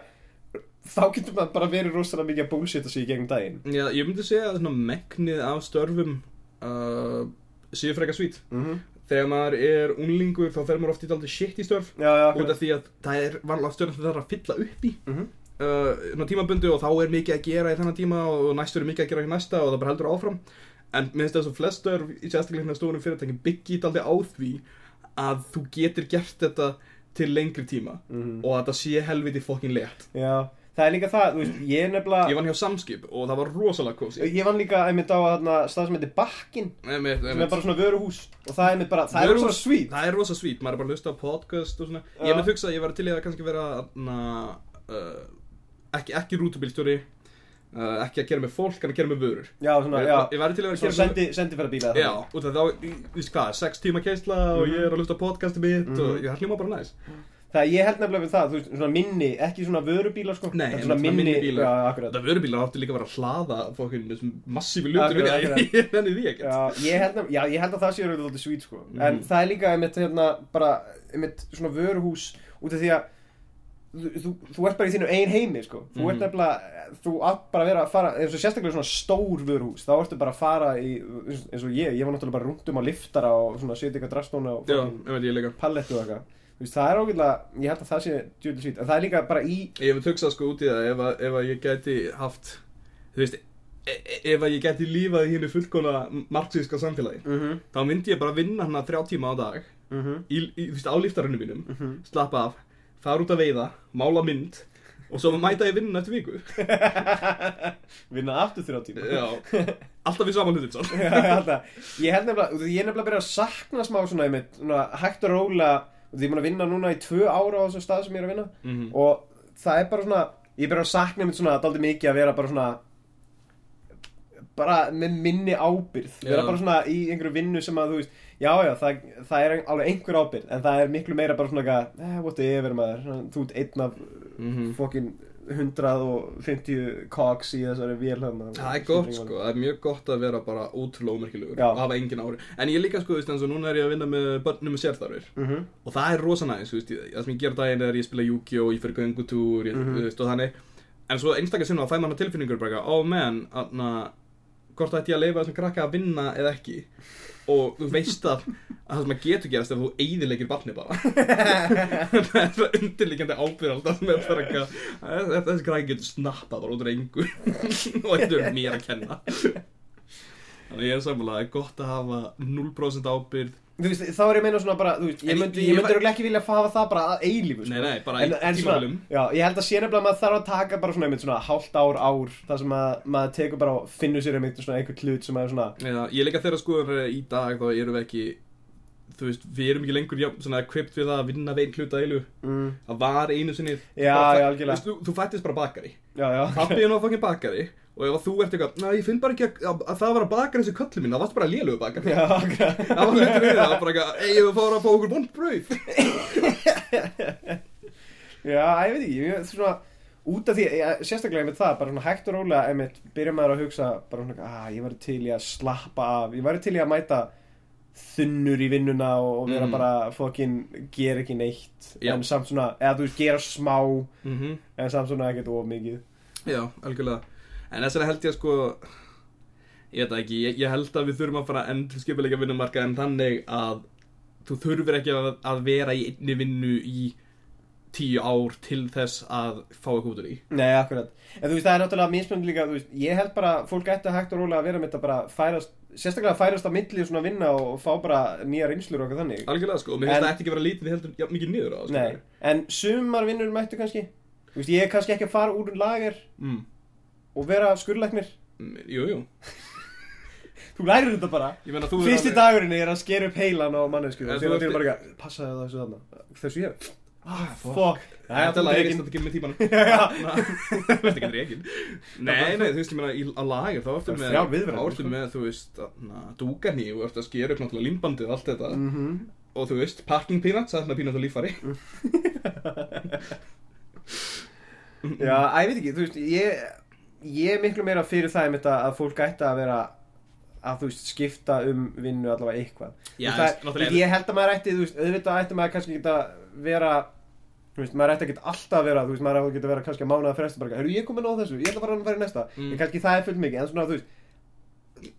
Speaker 2: þá getur maður bara verið rosalega mikið að bullshit að í gegnum daginn.
Speaker 3: Já, ég myndi segja að svona megnið af störfum uh, séu frekar svít
Speaker 2: Mm
Speaker 3: þegar maður er unlingur þá fer maður oft í daldi shit í störf
Speaker 2: Já, já,
Speaker 3: út
Speaker 2: akkurat.
Speaker 3: af því að það er vanlega stjórn sem það er að fylla upp í mm
Speaker 2: Mhm.
Speaker 3: tímabundu og þá er mikið að gera í þennan tíma og næstur er mikið að gera í næsta og það bara heldur áfram en mér finnst þess að flestur í sérstaklega hérna stórum fyrirtækjum byggið aldrei á því að þú getur gert þetta til lengri tíma
Speaker 2: Mhm.
Speaker 3: og að þetta sé helviti fokkin létt
Speaker 2: Já, það er líka það, þú veist, ég er nefnilega...
Speaker 3: ég vann hjá samskip og það var rosalega kósi
Speaker 2: Ah. Ég vann líka einmitt á þarna stað sem heitir Bakkin sem er bara svona vöruhús og það er einmitt bara, það er
Speaker 3: Vöruhús-
Speaker 2: svona svít
Speaker 3: það er rosa svít, maður er bara að hlusta á podcast og svona
Speaker 2: Já.
Speaker 3: ég með hugsa að ég var til í að kannski vera na, uh, ekki, ekki rútubílstjóri uh, ekki að gera með fólk, en að gera með vörur
Speaker 2: Já, svona,
Speaker 3: ég,
Speaker 2: já,
Speaker 3: ég var til í að vera að
Speaker 2: svona
Speaker 3: gera
Speaker 2: sendi, sendiferðabíla
Speaker 3: með já, og það þá, í- þú veist hvað, sex tíma keisla
Speaker 2: Mhm.
Speaker 3: og ég er að hlusta á podcasti mitt og ég hljóma bara næs
Speaker 2: Það ég held nefnilega við það, þú veist, svona minni, ekki svona vörubíla sko
Speaker 3: Nei,
Speaker 2: en
Speaker 3: en
Speaker 2: svona minni,
Speaker 3: bílar.
Speaker 2: já, akkurat
Speaker 3: það vörubílar áttu líka að vera að hlaða fólkinu þessum massífi ljótur
Speaker 2: Akkurat,
Speaker 3: ég,
Speaker 2: akkurat.
Speaker 3: ég nenni því ekkert
Speaker 2: Já, ég held, nefnilega, já, ég held að það sé auðvitað þóttið svít sko en það er líka einmitt hérna bara, einmitt svona vöruhús út af því að þú, þú, þú ert bara í þínu ein heimi sko þú ert nefnilega, þú átt bara að vera að fara eins og sérstaklega svona stór vöruhús þá ertu bara að fara í, eins og ég ég var náttúrulega bara um rundum á liftara og svona setja eitthvað drastóna og
Speaker 3: já,
Speaker 2: fucking
Speaker 3: ég veit ég líka
Speaker 2: pallettu og eitthvað Þú veist, það er ágætlega, ég held að það sé djúlega svít, en það er líka bara í
Speaker 3: Ég hef hugsað sko út í það ef að, ef að ég gæti haft Þú veist e- e- Ef að ég gæti lífað í hennu fullkona marxíska samfélagi
Speaker 2: Mhm.
Speaker 3: Þá myndi ég bara vinna hana þrjá tíma á dag
Speaker 2: Mhm.
Speaker 3: í, í, Þú veist á liftarinu mínum Slappa af, fara út að veiða Mála mynd Og svo mæta ég vinna eftir viku
Speaker 2: vinna aftur þrjá tíma
Speaker 3: Já, alltaf í saman hlutin svo
Speaker 2: Já, ég held það. Ég held nefnilega, þú veist, ég er nefnilega að byrja að sakna smá svona einmitt, svona hægt og róla því ég er búin að vinna núna í tvö ára á þessum stað sem ég er að vinna
Speaker 3: Mhm.
Speaker 2: og það er bara svona, ég byrja að sakna einmitt svona daldi mikið að vera bara svona bara með minni ábyrð
Speaker 3: Já.
Speaker 2: vera bara svona í einhverju vinnu sem að þú veist, já já, það, það er alveg einhver ábyrð en það er miklu meira bara svona eitthvað, eh, what the ever maður, svona, þú ert einn af
Speaker 3: Mhm.
Speaker 2: fokkin 150 cogs í þessari vél þarna.
Speaker 3: Það er gott sko, það er mjög gott að vera bara ótrúlega merkilegur
Speaker 2: Já.
Speaker 3: og hafa engin ári En ég líka sko, þú veist, eins og núna er ég að vinna með börnum með sérþarfir
Speaker 2: Mhm.
Speaker 3: og það er rosa næs, þú veist, ég- það sem ég ger á daginn er ég spila Yu-Gi-Oh, ég fyrir göngutúr, ég,
Speaker 2: Mhm.
Speaker 3: þú veist, og þannig En svo einstakar sinna þá fæ maður tilfinningur bara, eitthvað, oh man, aðna, hvort ætti ég að leifa þessum krakka að vinna eða ekki Og þú veist að, að það sem að getur gerast er að þú eyðilegir barni bara Það er það undirliggjandi ábyrð alltaf sem er bara eitthvað, "Þess- þessi krakki getur snappað bara út úr engu og þetta er mér að kenna Þannig að ég er sammála, það er gott að hafa 0% ábyrgð
Speaker 2: Þú veist, þá er ég að meina svona bara, þú veist, ég
Speaker 3: En
Speaker 2: myndi,
Speaker 3: ég-
Speaker 2: ég
Speaker 3: ég
Speaker 2: myndi
Speaker 3: var-
Speaker 2: örugglega ekki vilja hafa það bara að eilífu, sko.
Speaker 3: Nei, nei, bara
Speaker 2: en,
Speaker 3: í
Speaker 2: en svona,
Speaker 3: tímabilum.
Speaker 2: já, ég held að sé nefnilega að maður þarf að taka bara svona einmitt svona hálft ár, ár, þar sem að maður tekur bara og finnur sér einmitt svona einhvern hlut sem að er svona,
Speaker 3: Já, ég leika þeirra skoðunar í dag þá erum við ekki þú veist, við erum ekki lengur já, svona equipped við það að vinna við einn hluta eilu
Speaker 2: mm,
Speaker 3: það var einu sinni
Speaker 2: Já,
Speaker 3: bara,
Speaker 2: já, algjörlega.
Speaker 3: veist, þú, þú fættist bara bakari
Speaker 2: já, já,
Speaker 3: pappiðin var fokkin bakari og ef að þú ert eitthvað, næ, ég finn bara ekki að, að, að það var að bakari þessu köllu mín, það varst bara lélugu bakari
Speaker 2: já, ok,
Speaker 3: það var hlutur við það, það var bara eitthvað, ei, ég var að fara að fá okkur vond brauð
Speaker 2: já, ég veit ekki, ég, svona, út af því, ég, sérstaklega einmitt það, bara svona hægt og rólega einmitt, byrja maður að hugsa, bara svona, að ég væri til í að slappa af, ég væri til í að mæta þunnur í vinnuna og, og vera
Speaker 3: Mm.
Speaker 2: bara, fokkin, gera ekki neitt,
Speaker 3: Já.
Speaker 2: en samt svona, eða þú veist, gera smá,
Speaker 3: mm -hmm.
Speaker 2: En samt svona ekkert of mikið
Speaker 3: Já, algjörlega En þess vegna held ég að sko Ég veit það ekki, ég, ég held að við þurfum að fara enn til skipuleika vinnumarka en þannig að þú þurfir ekki að, að vera í einni vinnu í tíu ár til þess að fá eitthvað út úr því
Speaker 2: Nei, akkurat En þú veist, það er náttúrulega mismönd líka þú veist, Ég held bara, fólk ætti hægt og rólega að vera með þetta bara færast Sérstaklega að færast á milli svona vinna og, og fá bara nýja reynslur og eitthvað þannig
Speaker 3: Algjörlega sko, og mér finnst
Speaker 2: En-
Speaker 3: það ekki að vera lítið heldur jafn mikið niður á það
Speaker 2: Nei, en sumar vinnur mættu kannski Þú veist, ég er kannski ekki að fara úr um lager
Speaker 3: mm.
Speaker 2: og vera skurlæknir
Speaker 3: Mm, Jú, jú
Speaker 2: Þú lærir þetta bara
Speaker 3: Ég meina þú
Speaker 2: Fyrsti dagurinn er að skera upp heilan á mannesku
Speaker 3: En
Speaker 2: og
Speaker 3: þú
Speaker 2: þegar
Speaker 3: ert-
Speaker 2: þú bara ekki Passaði það þessu þarna Þessu ég
Speaker 3: ah, Fuck
Speaker 2: Fuck
Speaker 3: Það er
Speaker 2: þú
Speaker 3: alltaf ekki
Speaker 2: drekinn.
Speaker 3: stund ekki með tímanum
Speaker 2: Já,
Speaker 3: Þetta getur ég ekki Nei, nei, þú veist, ég meina í- á lager þá ertu
Speaker 2: Það er
Speaker 3: með
Speaker 2: þrjár viðvaranir,
Speaker 3: þá ertu
Speaker 2: sko.
Speaker 3: með, þú veist, dúgarni og ertu að skera upp náttúrulega límbandið og allt þetta og þú veist, parking peanuts, það er með peanuts og líffari
Speaker 2: Já, að ég veit ekki, þú veist, ég, ég er miklu meira fyrir það einmitt að að fólk ætti að vera að þú veist, skipta um vinnu allavega eitthvað. Þú
Speaker 3: Já, þú
Speaker 2: það,
Speaker 3: veist, náttúrulega-
Speaker 2: Ég held að maður ætti, þú veist, auðvitað ætti maður kannski geta vera, þú veist, maður ætti að geta alltaf vera, þú veist, maður ætti að geta vera kannski að mánaða fresta bara, herru, ég er komin á þessu, ég ætla bara að fara í næsta.
Speaker 3: Mm.
Speaker 2: En kannski það er fullt mikið, en svona, þú veist,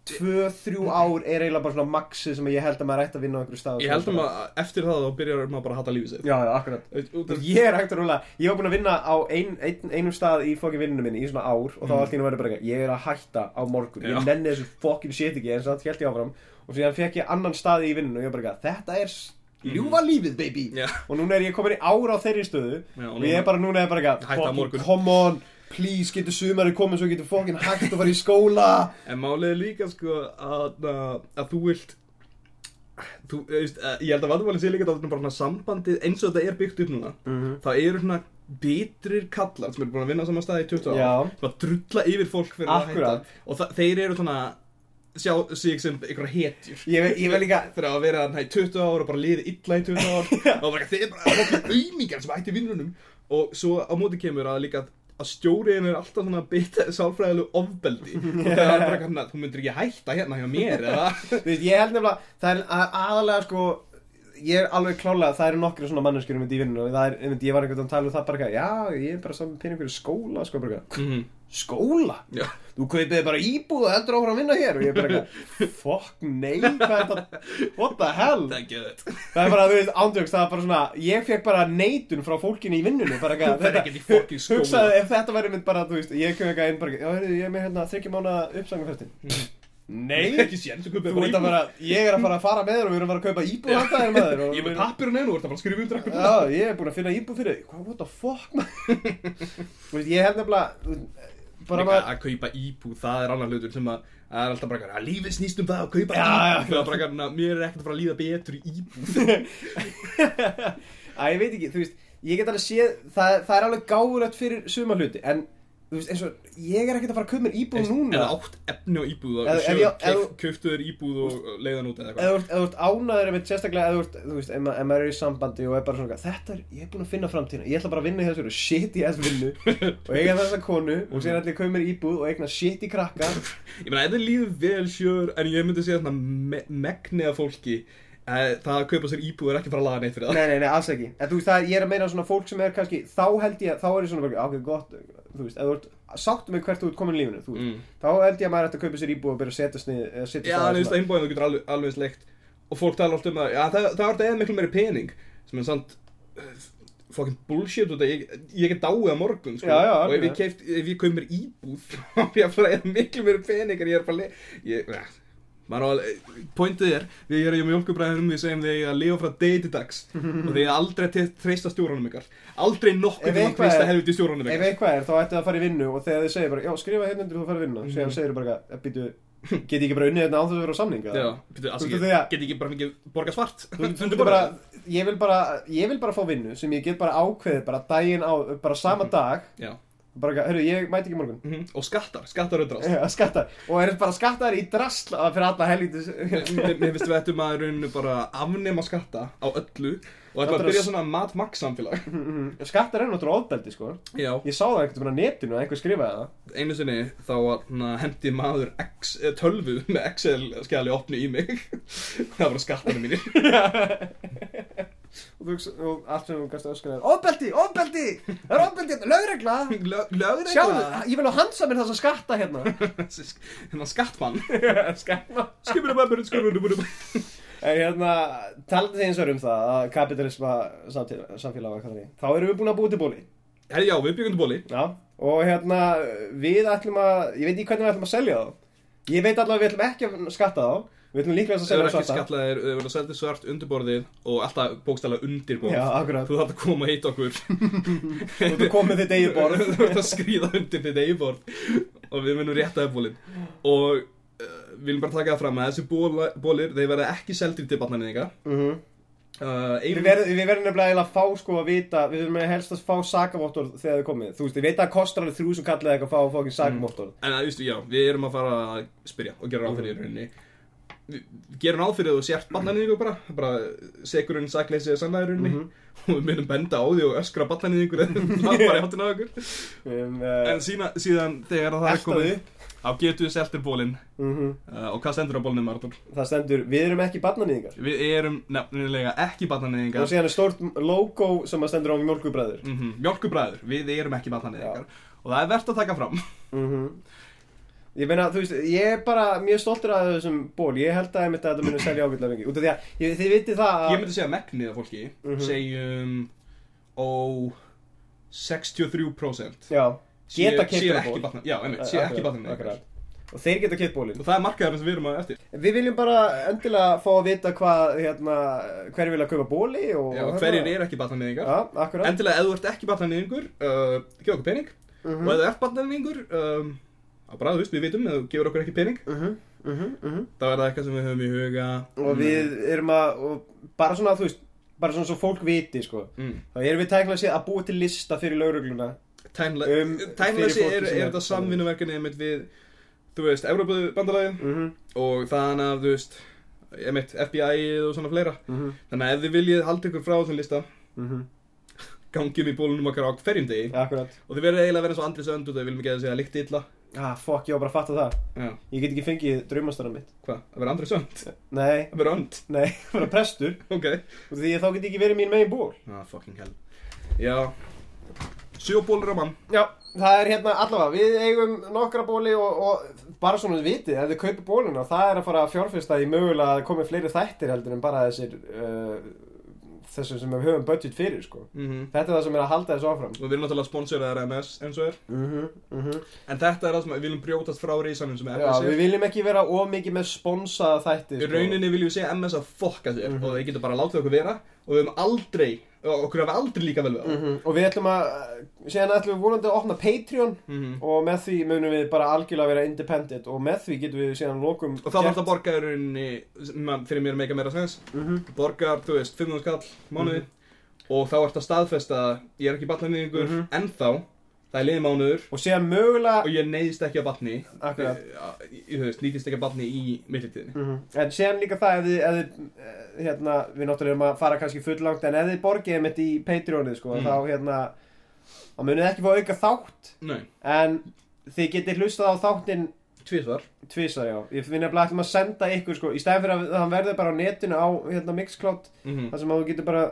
Speaker 2: tvö, þrjú ár er eiginlega bara svona maxið sem ég held að maður ætti að vinna á einhverju stað.
Speaker 3: Ég held um að eftir það þá byrjar maður bara að hata lífið sitt
Speaker 2: Já, já, akkurat.
Speaker 3: Þú veist, út af-
Speaker 2: Ég er hægt að rúla, ég var búinn að vinna á ein, ein, einum stað í fokkin vinnunum minni í svona ár og þá allt í hennu verður bara ekki, ég er að hætta á morgun,
Speaker 3: Mm. Já.
Speaker 2: ég nenni þessu fokkin shit ekki eins og það held ég áfram og síðan fekk ég annan stað í vinnunum og ég var bara ekki, þetta er s- ljúfa lífið baby
Speaker 3: Mm. Já.
Speaker 2: og núna er ég komin í ár á þeirri stöðu
Speaker 3: Já, og
Speaker 2: og ég
Speaker 3: núna-
Speaker 2: er bara núna er bara ekki,
Speaker 3: Hætta á morgun.
Speaker 2: fokkin come on, please getur sumari komið svo getur fokkin hægt að fara í skóla
Speaker 3: En málið er líka, sko, að, að, að þú vilt þú, þú veist, að, ég held að vandamálið sé líka að bara svona sambandið eins og þetta er byggt upp núna
Speaker 2: Mhm.
Speaker 3: þá eru svona bitrir kallar sem eru búin að vinna á sama staði í 20
Speaker 2: Já.
Speaker 3: ár sem að drulla yfir fólk fyrir að
Speaker 2: Akkúrat.
Speaker 3: hætta og það, þeir eru svona sjá sig sem einhverja hetjur
Speaker 2: Ég ve- ég ve líka-
Speaker 3: þegar að vera þarna í 20 ár og bara liði illa í 20 ár og bara þeir eru bara allir aumingar sem ætti vinnunum og svo á móti kemur að líka að stjóriðin er alltaf svona bita sálfræðilegu ofbeldi og það er bara kannan að þú myndir ekki hætta hérna hjá mér eða
Speaker 2: Þú veist, ég held nefnilega, það er að- aðalega sko, ég er alveg klálega, það eru nokkru svona manneskjur um þetta í vinnunum og það er, einmitt, ég var einhvern veginn að tala um það bara eitthvað, já, ég er bara saman pinningur í skóla, sko, bara eitthvað,
Speaker 3: Mhm.
Speaker 2: skóla?
Speaker 3: Já.
Speaker 2: Þú kaupið bara íbúð og heldur áfram að vinna hér og ég er bara eitthvað, fuck, nei, hvað er þetta, what the hell?
Speaker 3: Það er gett
Speaker 2: Það er bara, þú veist, ándjöks, það er bara svona, ég fekk bara neitun frá fólkinu í vinnunum, bara eitthvað,
Speaker 3: Þú ferð ekkert í fucking skóla.
Speaker 2: hugsaðu ef þetta væri mynd bara, þú veist, ég kem eitthvað inn bara, eitthvað, já, heyrðu, ég er með hérna þryggja mánaða
Speaker 3: Mhm.
Speaker 2: uppsagnarfrestinn. Nei,
Speaker 3: Ekki sér, þú
Speaker 2: Þú
Speaker 3: kaupir bara
Speaker 2: veit að
Speaker 3: íbúð
Speaker 2: vera, ég er að fara að fara með þér og við erum að fara að kaupa íbúð handa þér maður og
Speaker 3: Ég er
Speaker 2: við
Speaker 3: með
Speaker 2: erum-
Speaker 3: pappirinn einu og þú ert að bara skrifa um drakkum
Speaker 2: Já, ég er búin að finna íbúð fyrir þig Hvað, what the fuck maður Þú veist, ég held nefnilega þú veist, Bara
Speaker 3: Líka
Speaker 2: maður
Speaker 3: að kaupa íbúð, það er annar hlutur sem að það er alltaf bara að lífið snýst um það að kaupa
Speaker 2: Já, já,
Speaker 3: íbúð það er bara að mér er ekkert að fara að líða betur í íbúð
Speaker 2: Æ, ég veit ekki, þú veist Ég get alveg séð, það, það er alveg gáðurögt fyrir suma hluti En, þú veist, eins og Ég er ekkert að fara að kaupa mér íbúð núna
Speaker 3: eða átt efni á íbúð
Speaker 2: Ef-
Speaker 3: og
Speaker 2: ef
Speaker 3: sjöðu,
Speaker 2: ég- ef-
Speaker 3: köftu þér íbúð og leiðan út
Speaker 2: Ef
Speaker 3: eða eitthvað
Speaker 2: þú ert- ef þú ert ánæður einmitt sérstaklega ef þú ert, þú veist, ef ma- ef maður er í sambandi og er bara svona, þetta er, ég er búin að finna framtíðina ég ætla bara að vinna í þessu shit í þess vinnu og eiga þessa konu og sér allir kaumir íbúð og eigna shit í krakka
Speaker 3: ég meina, ef þið líður vel sjöður en ég myndi segja þarna me megnið af fólki eh, það að kaupa sér íbúð er ekki bara að laga neitt fyrir það
Speaker 2: Nei, nei, nei, alls ekki en, þú veist, það, er- Ég er að meina svona fólk sem er kannski Þá held ég, að þá er ég svona bara, ok, gott Þú veist, ef þú ert sátt með hvert þú ert komin í lífinu þú, veist,
Speaker 3: Mm.
Speaker 2: Þá held ég að maður ætti að kaupa sér íbúð og byrja að setja snið eða setja
Speaker 3: já,
Speaker 2: staðar
Speaker 3: en þú veist
Speaker 2: svona-
Speaker 3: að hinbóðin þú getur alveg, alveg sleikt og fólk tala alltaf um að já, það, það er þetta eða miklu meiri pening sem er samt eh, fucking bullshit út að ég, ég er dáið að morgun sko.
Speaker 2: Já, já,
Speaker 3: og ef ég,
Speaker 2: algjörlega.
Speaker 3: keypt, ef ég kaum mér íbúð þá er ég að fara að eða miklu meiri pening en ég er bara le- ég, ja, Maður á alveg, pointið er, við erum í mjölkubræðinum, við segjum þig að lifa frá degi til dags og þið aldrei te- treysta stjórnum ykkar. Aldrei nokkuð til að
Speaker 2: eitthvað
Speaker 3: treysta
Speaker 2: er-
Speaker 3: helviti stjórnum
Speaker 2: Ef
Speaker 3: ykkar.
Speaker 2: eitthvað er, þá ætti það að fara í vinnu og þegar þið segir bara, já, skrifa hérna undir þú að fara í
Speaker 3: Mhm.
Speaker 2: vinnu mm. síðan segir þú bara, býtu, get ég ekki bara unnið hérna án þess að vera á samninga?
Speaker 3: Já, byrju, alls
Speaker 2: Þú
Speaker 3: ekki,
Speaker 2: veist þegar-
Speaker 3: get ekki bara mikið borga svart.
Speaker 2: Þú, þú, þú bara, ég vil bara, ég vil bara fá vinnu sem ég get bara ákveðið bara daginn á, bara sama
Speaker 3: Mhm.
Speaker 2: dag
Speaker 3: Já,
Speaker 2: bara, eitthvað, heyrðu, ég mæti ekki í morgun
Speaker 3: mhm, og skattar, skattar auðvitað.
Speaker 2: Já, skattar, og er bara skattar í drasl að fyrir alla helvítis
Speaker 3: Mér mér finnst við ættum að í rauninu bara afnema skatta á öllu og ættum
Speaker 2: Þetta
Speaker 3: að
Speaker 2: er
Speaker 3: byrja
Speaker 2: að-
Speaker 3: svona mat-max samfélag.
Speaker 2: Mhm. Skattar eru náttúrulega ofbeldi, sko
Speaker 3: Já,
Speaker 2: Ég sá það einhvern veginn á netinu að einhver skrifaði það
Speaker 3: einu sinni þá na, hendi maður X, eh, tölvu með Excel-skjali opni í mig. það voru skattarnir mínir.
Speaker 2: og, þú, hugsa- og allt sem hún gæst að öskra er Ofbeldi, ofbeldi, það er ofbeldi hérna, lögregla
Speaker 3: Lögur
Speaker 2: Sjáðu, ég vil á hansa mér þessa skatta hérna
Speaker 3: Hérna skattmann
Speaker 2: Skatma
Speaker 3: Skipinu bæmur, skipinu bæmur
Speaker 2: En hérna, talandi þeins er um það að kapitalisma samtíð- samfélag var kallað í. Þá erum við búin að búið til bóli
Speaker 3: Herri já, við byggjum til bóli
Speaker 2: Já, og hérna við ætlum að, ég veit ekki hvernig við ætlum að selja þá Ég veit allavega að við ætlum ekki að skatta þá Við ætlum líklega að
Speaker 3: Þau eru
Speaker 2: selja
Speaker 3: ekki
Speaker 2: svarta
Speaker 3: skallaðir, þau verður seldið svart undirborðið og alltaf bókstælega undirborð
Speaker 2: Já, akkurat,
Speaker 3: Þú þarf að koma að heita okkur
Speaker 2: og þú komið þitt eigið borð
Speaker 3: Þú þarf að skrýða undir þitt eigið borð og við munum rétta upp bólin og uh, við viljum bara taka það fram að þessi bóla, bólir, þeir verða ekki seldir til barnarinn ykkar
Speaker 2: Mhm.
Speaker 3: uh,
Speaker 2: Við
Speaker 3: ein-
Speaker 2: verðum, við verðum nefnilega eiginlega að fá sko að vita, við verðum að helst að fá sakavottor þegar þau komið. Þú veist, ég veit að það kostar alveg þrjú sem kallaði eitthvað að fá fókin sakavottor.
Speaker 3: En það, vístu, Eh, já, við erum að fara að spyrja og gera ráð fyrir í rauninni Við gerum ráð fyrir að þú sért ballaninn ykkur bara bara sekurinn sakleysi að sanna í rauninni
Speaker 2: Mhm.
Speaker 3: og við myndum benda á því og öskra ballaninn ykkur eða það bara í hátinn á ykkur
Speaker 2: Um,
Speaker 3: Mm.
Speaker 2: uh,
Speaker 3: En sína, síðan þegar það er
Speaker 2: Elta
Speaker 3: komið
Speaker 2: þau.
Speaker 3: á getur við seltir bólinn
Speaker 2: mhm.
Speaker 3: uh, og hvað stendur á bólnum, Artur?
Speaker 2: það stendur, við erum ekki barnanýðingar.
Speaker 3: Við erum nefnilega ekki
Speaker 2: Og
Speaker 3: ballanniðingar
Speaker 2: síðan er stórt logo sem að stendur á mjölkubræður.
Speaker 3: mm Mjölkubræður, við erum ekki ballanniðingar og það er verðt að taka fram
Speaker 2: Mhm. Ég meina, þú veist, ég er bara mjög stoltur að þessum ból. Ég held að ég myndi að þetta muni selja ágætlega mikið. Út af því að, ég, þið vitið það að...
Speaker 3: Ég myndi segja megnið af fólki
Speaker 2: Mhm.
Speaker 3: segjum ó 63%
Speaker 2: Já,
Speaker 3: sé-
Speaker 2: geta
Speaker 3: sé
Speaker 2: kippt
Speaker 3: ekki batna, já, einmitt, sé ekki batna
Speaker 2: Eh, Og þeir geta kippt bólinn.
Speaker 3: og það er markaðarinn sem við erum að eftir
Speaker 2: Við viljum bara endilega fá að vita hvað, hérna, hverju vilja kaupa bóli og... hérna.
Speaker 3: já, hverjir eru ekki batnanýðingar
Speaker 2: Já, akkurat.
Speaker 3: endilega ef þú ert ekki batnanýðingur uh, gefa okkur pening
Speaker 2: Mhm.
Speaker 3: og ef þú ert batnanýðingur um, á bara, þú veist, við vitum, ef þú gefur okkur ekki pening
Speaker 2: Uh -huh, uh -huh, uh -huh.
Speaker 3: þá er það eitthvað sem við höfum í huga
Speaker 2: Og við erum að, og bara svona, þú veist, bara svona svo fólk viti, sko.
Speaker 3: mm.
Speaker 2: Þá erum við tæknilega séð að búa til lista fyrir laurugluna. Um, fyrir
Speaker 3: tæmleysi
Speaker 2: fólki
Speaker 3: er,
Speaker 2: sem
Speaker 3: er
Speaker 2: er-
Speaker 3: þetta samvinnuverkefni einmitt við þú veist, Evrópabandalagið
Speaker 2: Uh -huh,
Speaker 3: og þaðan af, þú veist, einmitt FBI og svona fleira
Speaker 2: uh -huh,
Speaker 3: Þannig að ef þið viljið halda ykkur frá þessum lista
Speaker 2: uh -huh.
Speaker 3: gangjum í bólunum okkar á hverjum degi
Speaker 2: Akkurat.
Speaker 3: og þið verðið eiginlega að vera eins og Andris önd og þau viljum ekki að segja líkt illa
Speaker 2: Ah, fuck, ég var bara að fatta það.
Speaker 3: Já,
Speaker 2: Ég get ekki fengið draumastana mitt.
Speaker 3: hvað? Að vera Andris önd?
Speaker 2: Nei,
Speaker 3: Að vera önd?
Speaker 2: nei, bara prestur.
Speaker 3: Ok
Speaker 2: Út af Því að þá get ég ekki verið mín megin ból.
Speaker 3: Ah, fucking hell Já Sjó bólur á mann
Speaker 2: Já, það er hérna allavega, við eigum nokkra bóli og, og bara svona þið vitið, ef þið kaupir bólina, það er að fara að fjárfesta í mögulega að komi fleiri þættir heldur en bara þessir, uh, þessum sem við höfum budget fyrir, sko.
Speaker 3: mm
Speaker 2: Þetta er það sem er að halda þessu áfram.
Speaker 3: Og við erum náttúrulega sponsoraðar MS eins og er
Speaker 2: Uh -huh,
Speaker 3: En þetta er það sem við viljum brjótast frá reysanum sem
Speaker 2: Já,
Speaker 3: MS
Speaker 2: við
Speaker 3: er
Speaker 2: viljum ekki vera of mikið með sponsaða sko. þætti,
Speaker 3: Í rauninni viljum við segja MS að fokka þér
Speaker 2: Mhm.
Speaker 3: og þeir getur bara að láta okkur vera og við höfum aldrei og okkur hafa aldrei líka vel við á
Speaker 2: Uh -huh, og við ætlum að, síðan ætlum við vonandi að opna Patreon
Speaker 3: Mhm.
Speaker 2: og með því munum við bara algjörlega vera independent og með því getum við síðan lokum
Speaker 3: Og þá var þetta borgarunni, fyrir mér meika meira sens,
Speaker 2: Mhm.
Speaker 3: borgar, þú veist, 500 skall mánuði og þá ert að staðfesta að ég er ekki batnanýðingur
Speaker 2: Mhm.
Speaker 3: mm ennþá, það er liðið mánuður
Speaker 2: Og síðan mögulega
Speaker 3: og ég neyðist ekki að batni,
Speaker 2: Akkurat.
Speaker 3: Eh, þú veist, nýtist ekki að batni í millitíðinni.
Speaker 2: Mhm. En séðan líka það ef þið, ef þið eh, hérna, við náttúrulega erum að fara kannski fulllangt en ef þið borgið mitt í Patreonið sko,
Speaker 3: Mm.
Speaker 2: þá hérna þá munið þið ekki fá auka þátt
Speaker 3: Nei,
Speaker 2: en þið getið hlustað á þáttinn
Speaker 3: tvísvar.
Speaker 2: tvisar já, ég finn nefnilega ætlum að senda ykkur sko, í stæðan fyrir að hann verður bara á netinu á hérna Mixcloud,
Speaker 3: Mm
Speaker 2: þar sem að þú getur bara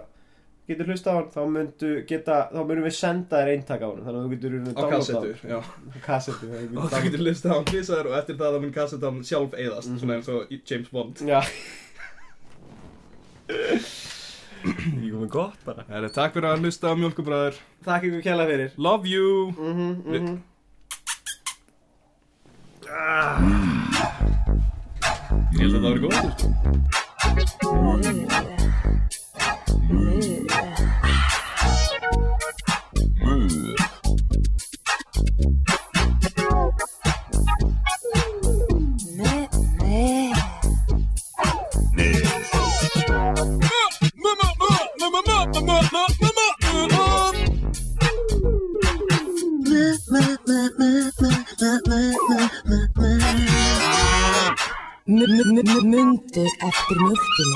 Speaker 2: getur hlustað á hann, þá myndu geta þá munum við senda þér eintak á hann þannig að þú getur
Speaker 3: Á kassettu, já.
Speaker 2: kassetu, já,
Speaker 3: Og það getur listið á hann tvísvar og eftir það að mun kassettan sjálf eðast,
Speaker 2: Mhm.
Speaker 3: svona eins og í James Bond.
Speaker 2: já ég komið gott bara
Speaker 3: Það er takk fyrir að hlusta á Mjölkubræður.
Speaker 2: Takk ykkur kjæla fyrir
Speaker 3: Love you!
Speaker 2: Mhm, mhm.
Speaker 3: Mjölkubræður. Ah. Ég held að það voru góð sko.
Speaker 1: Mu- mu- mu- mu- Mundu eftir mjölkinni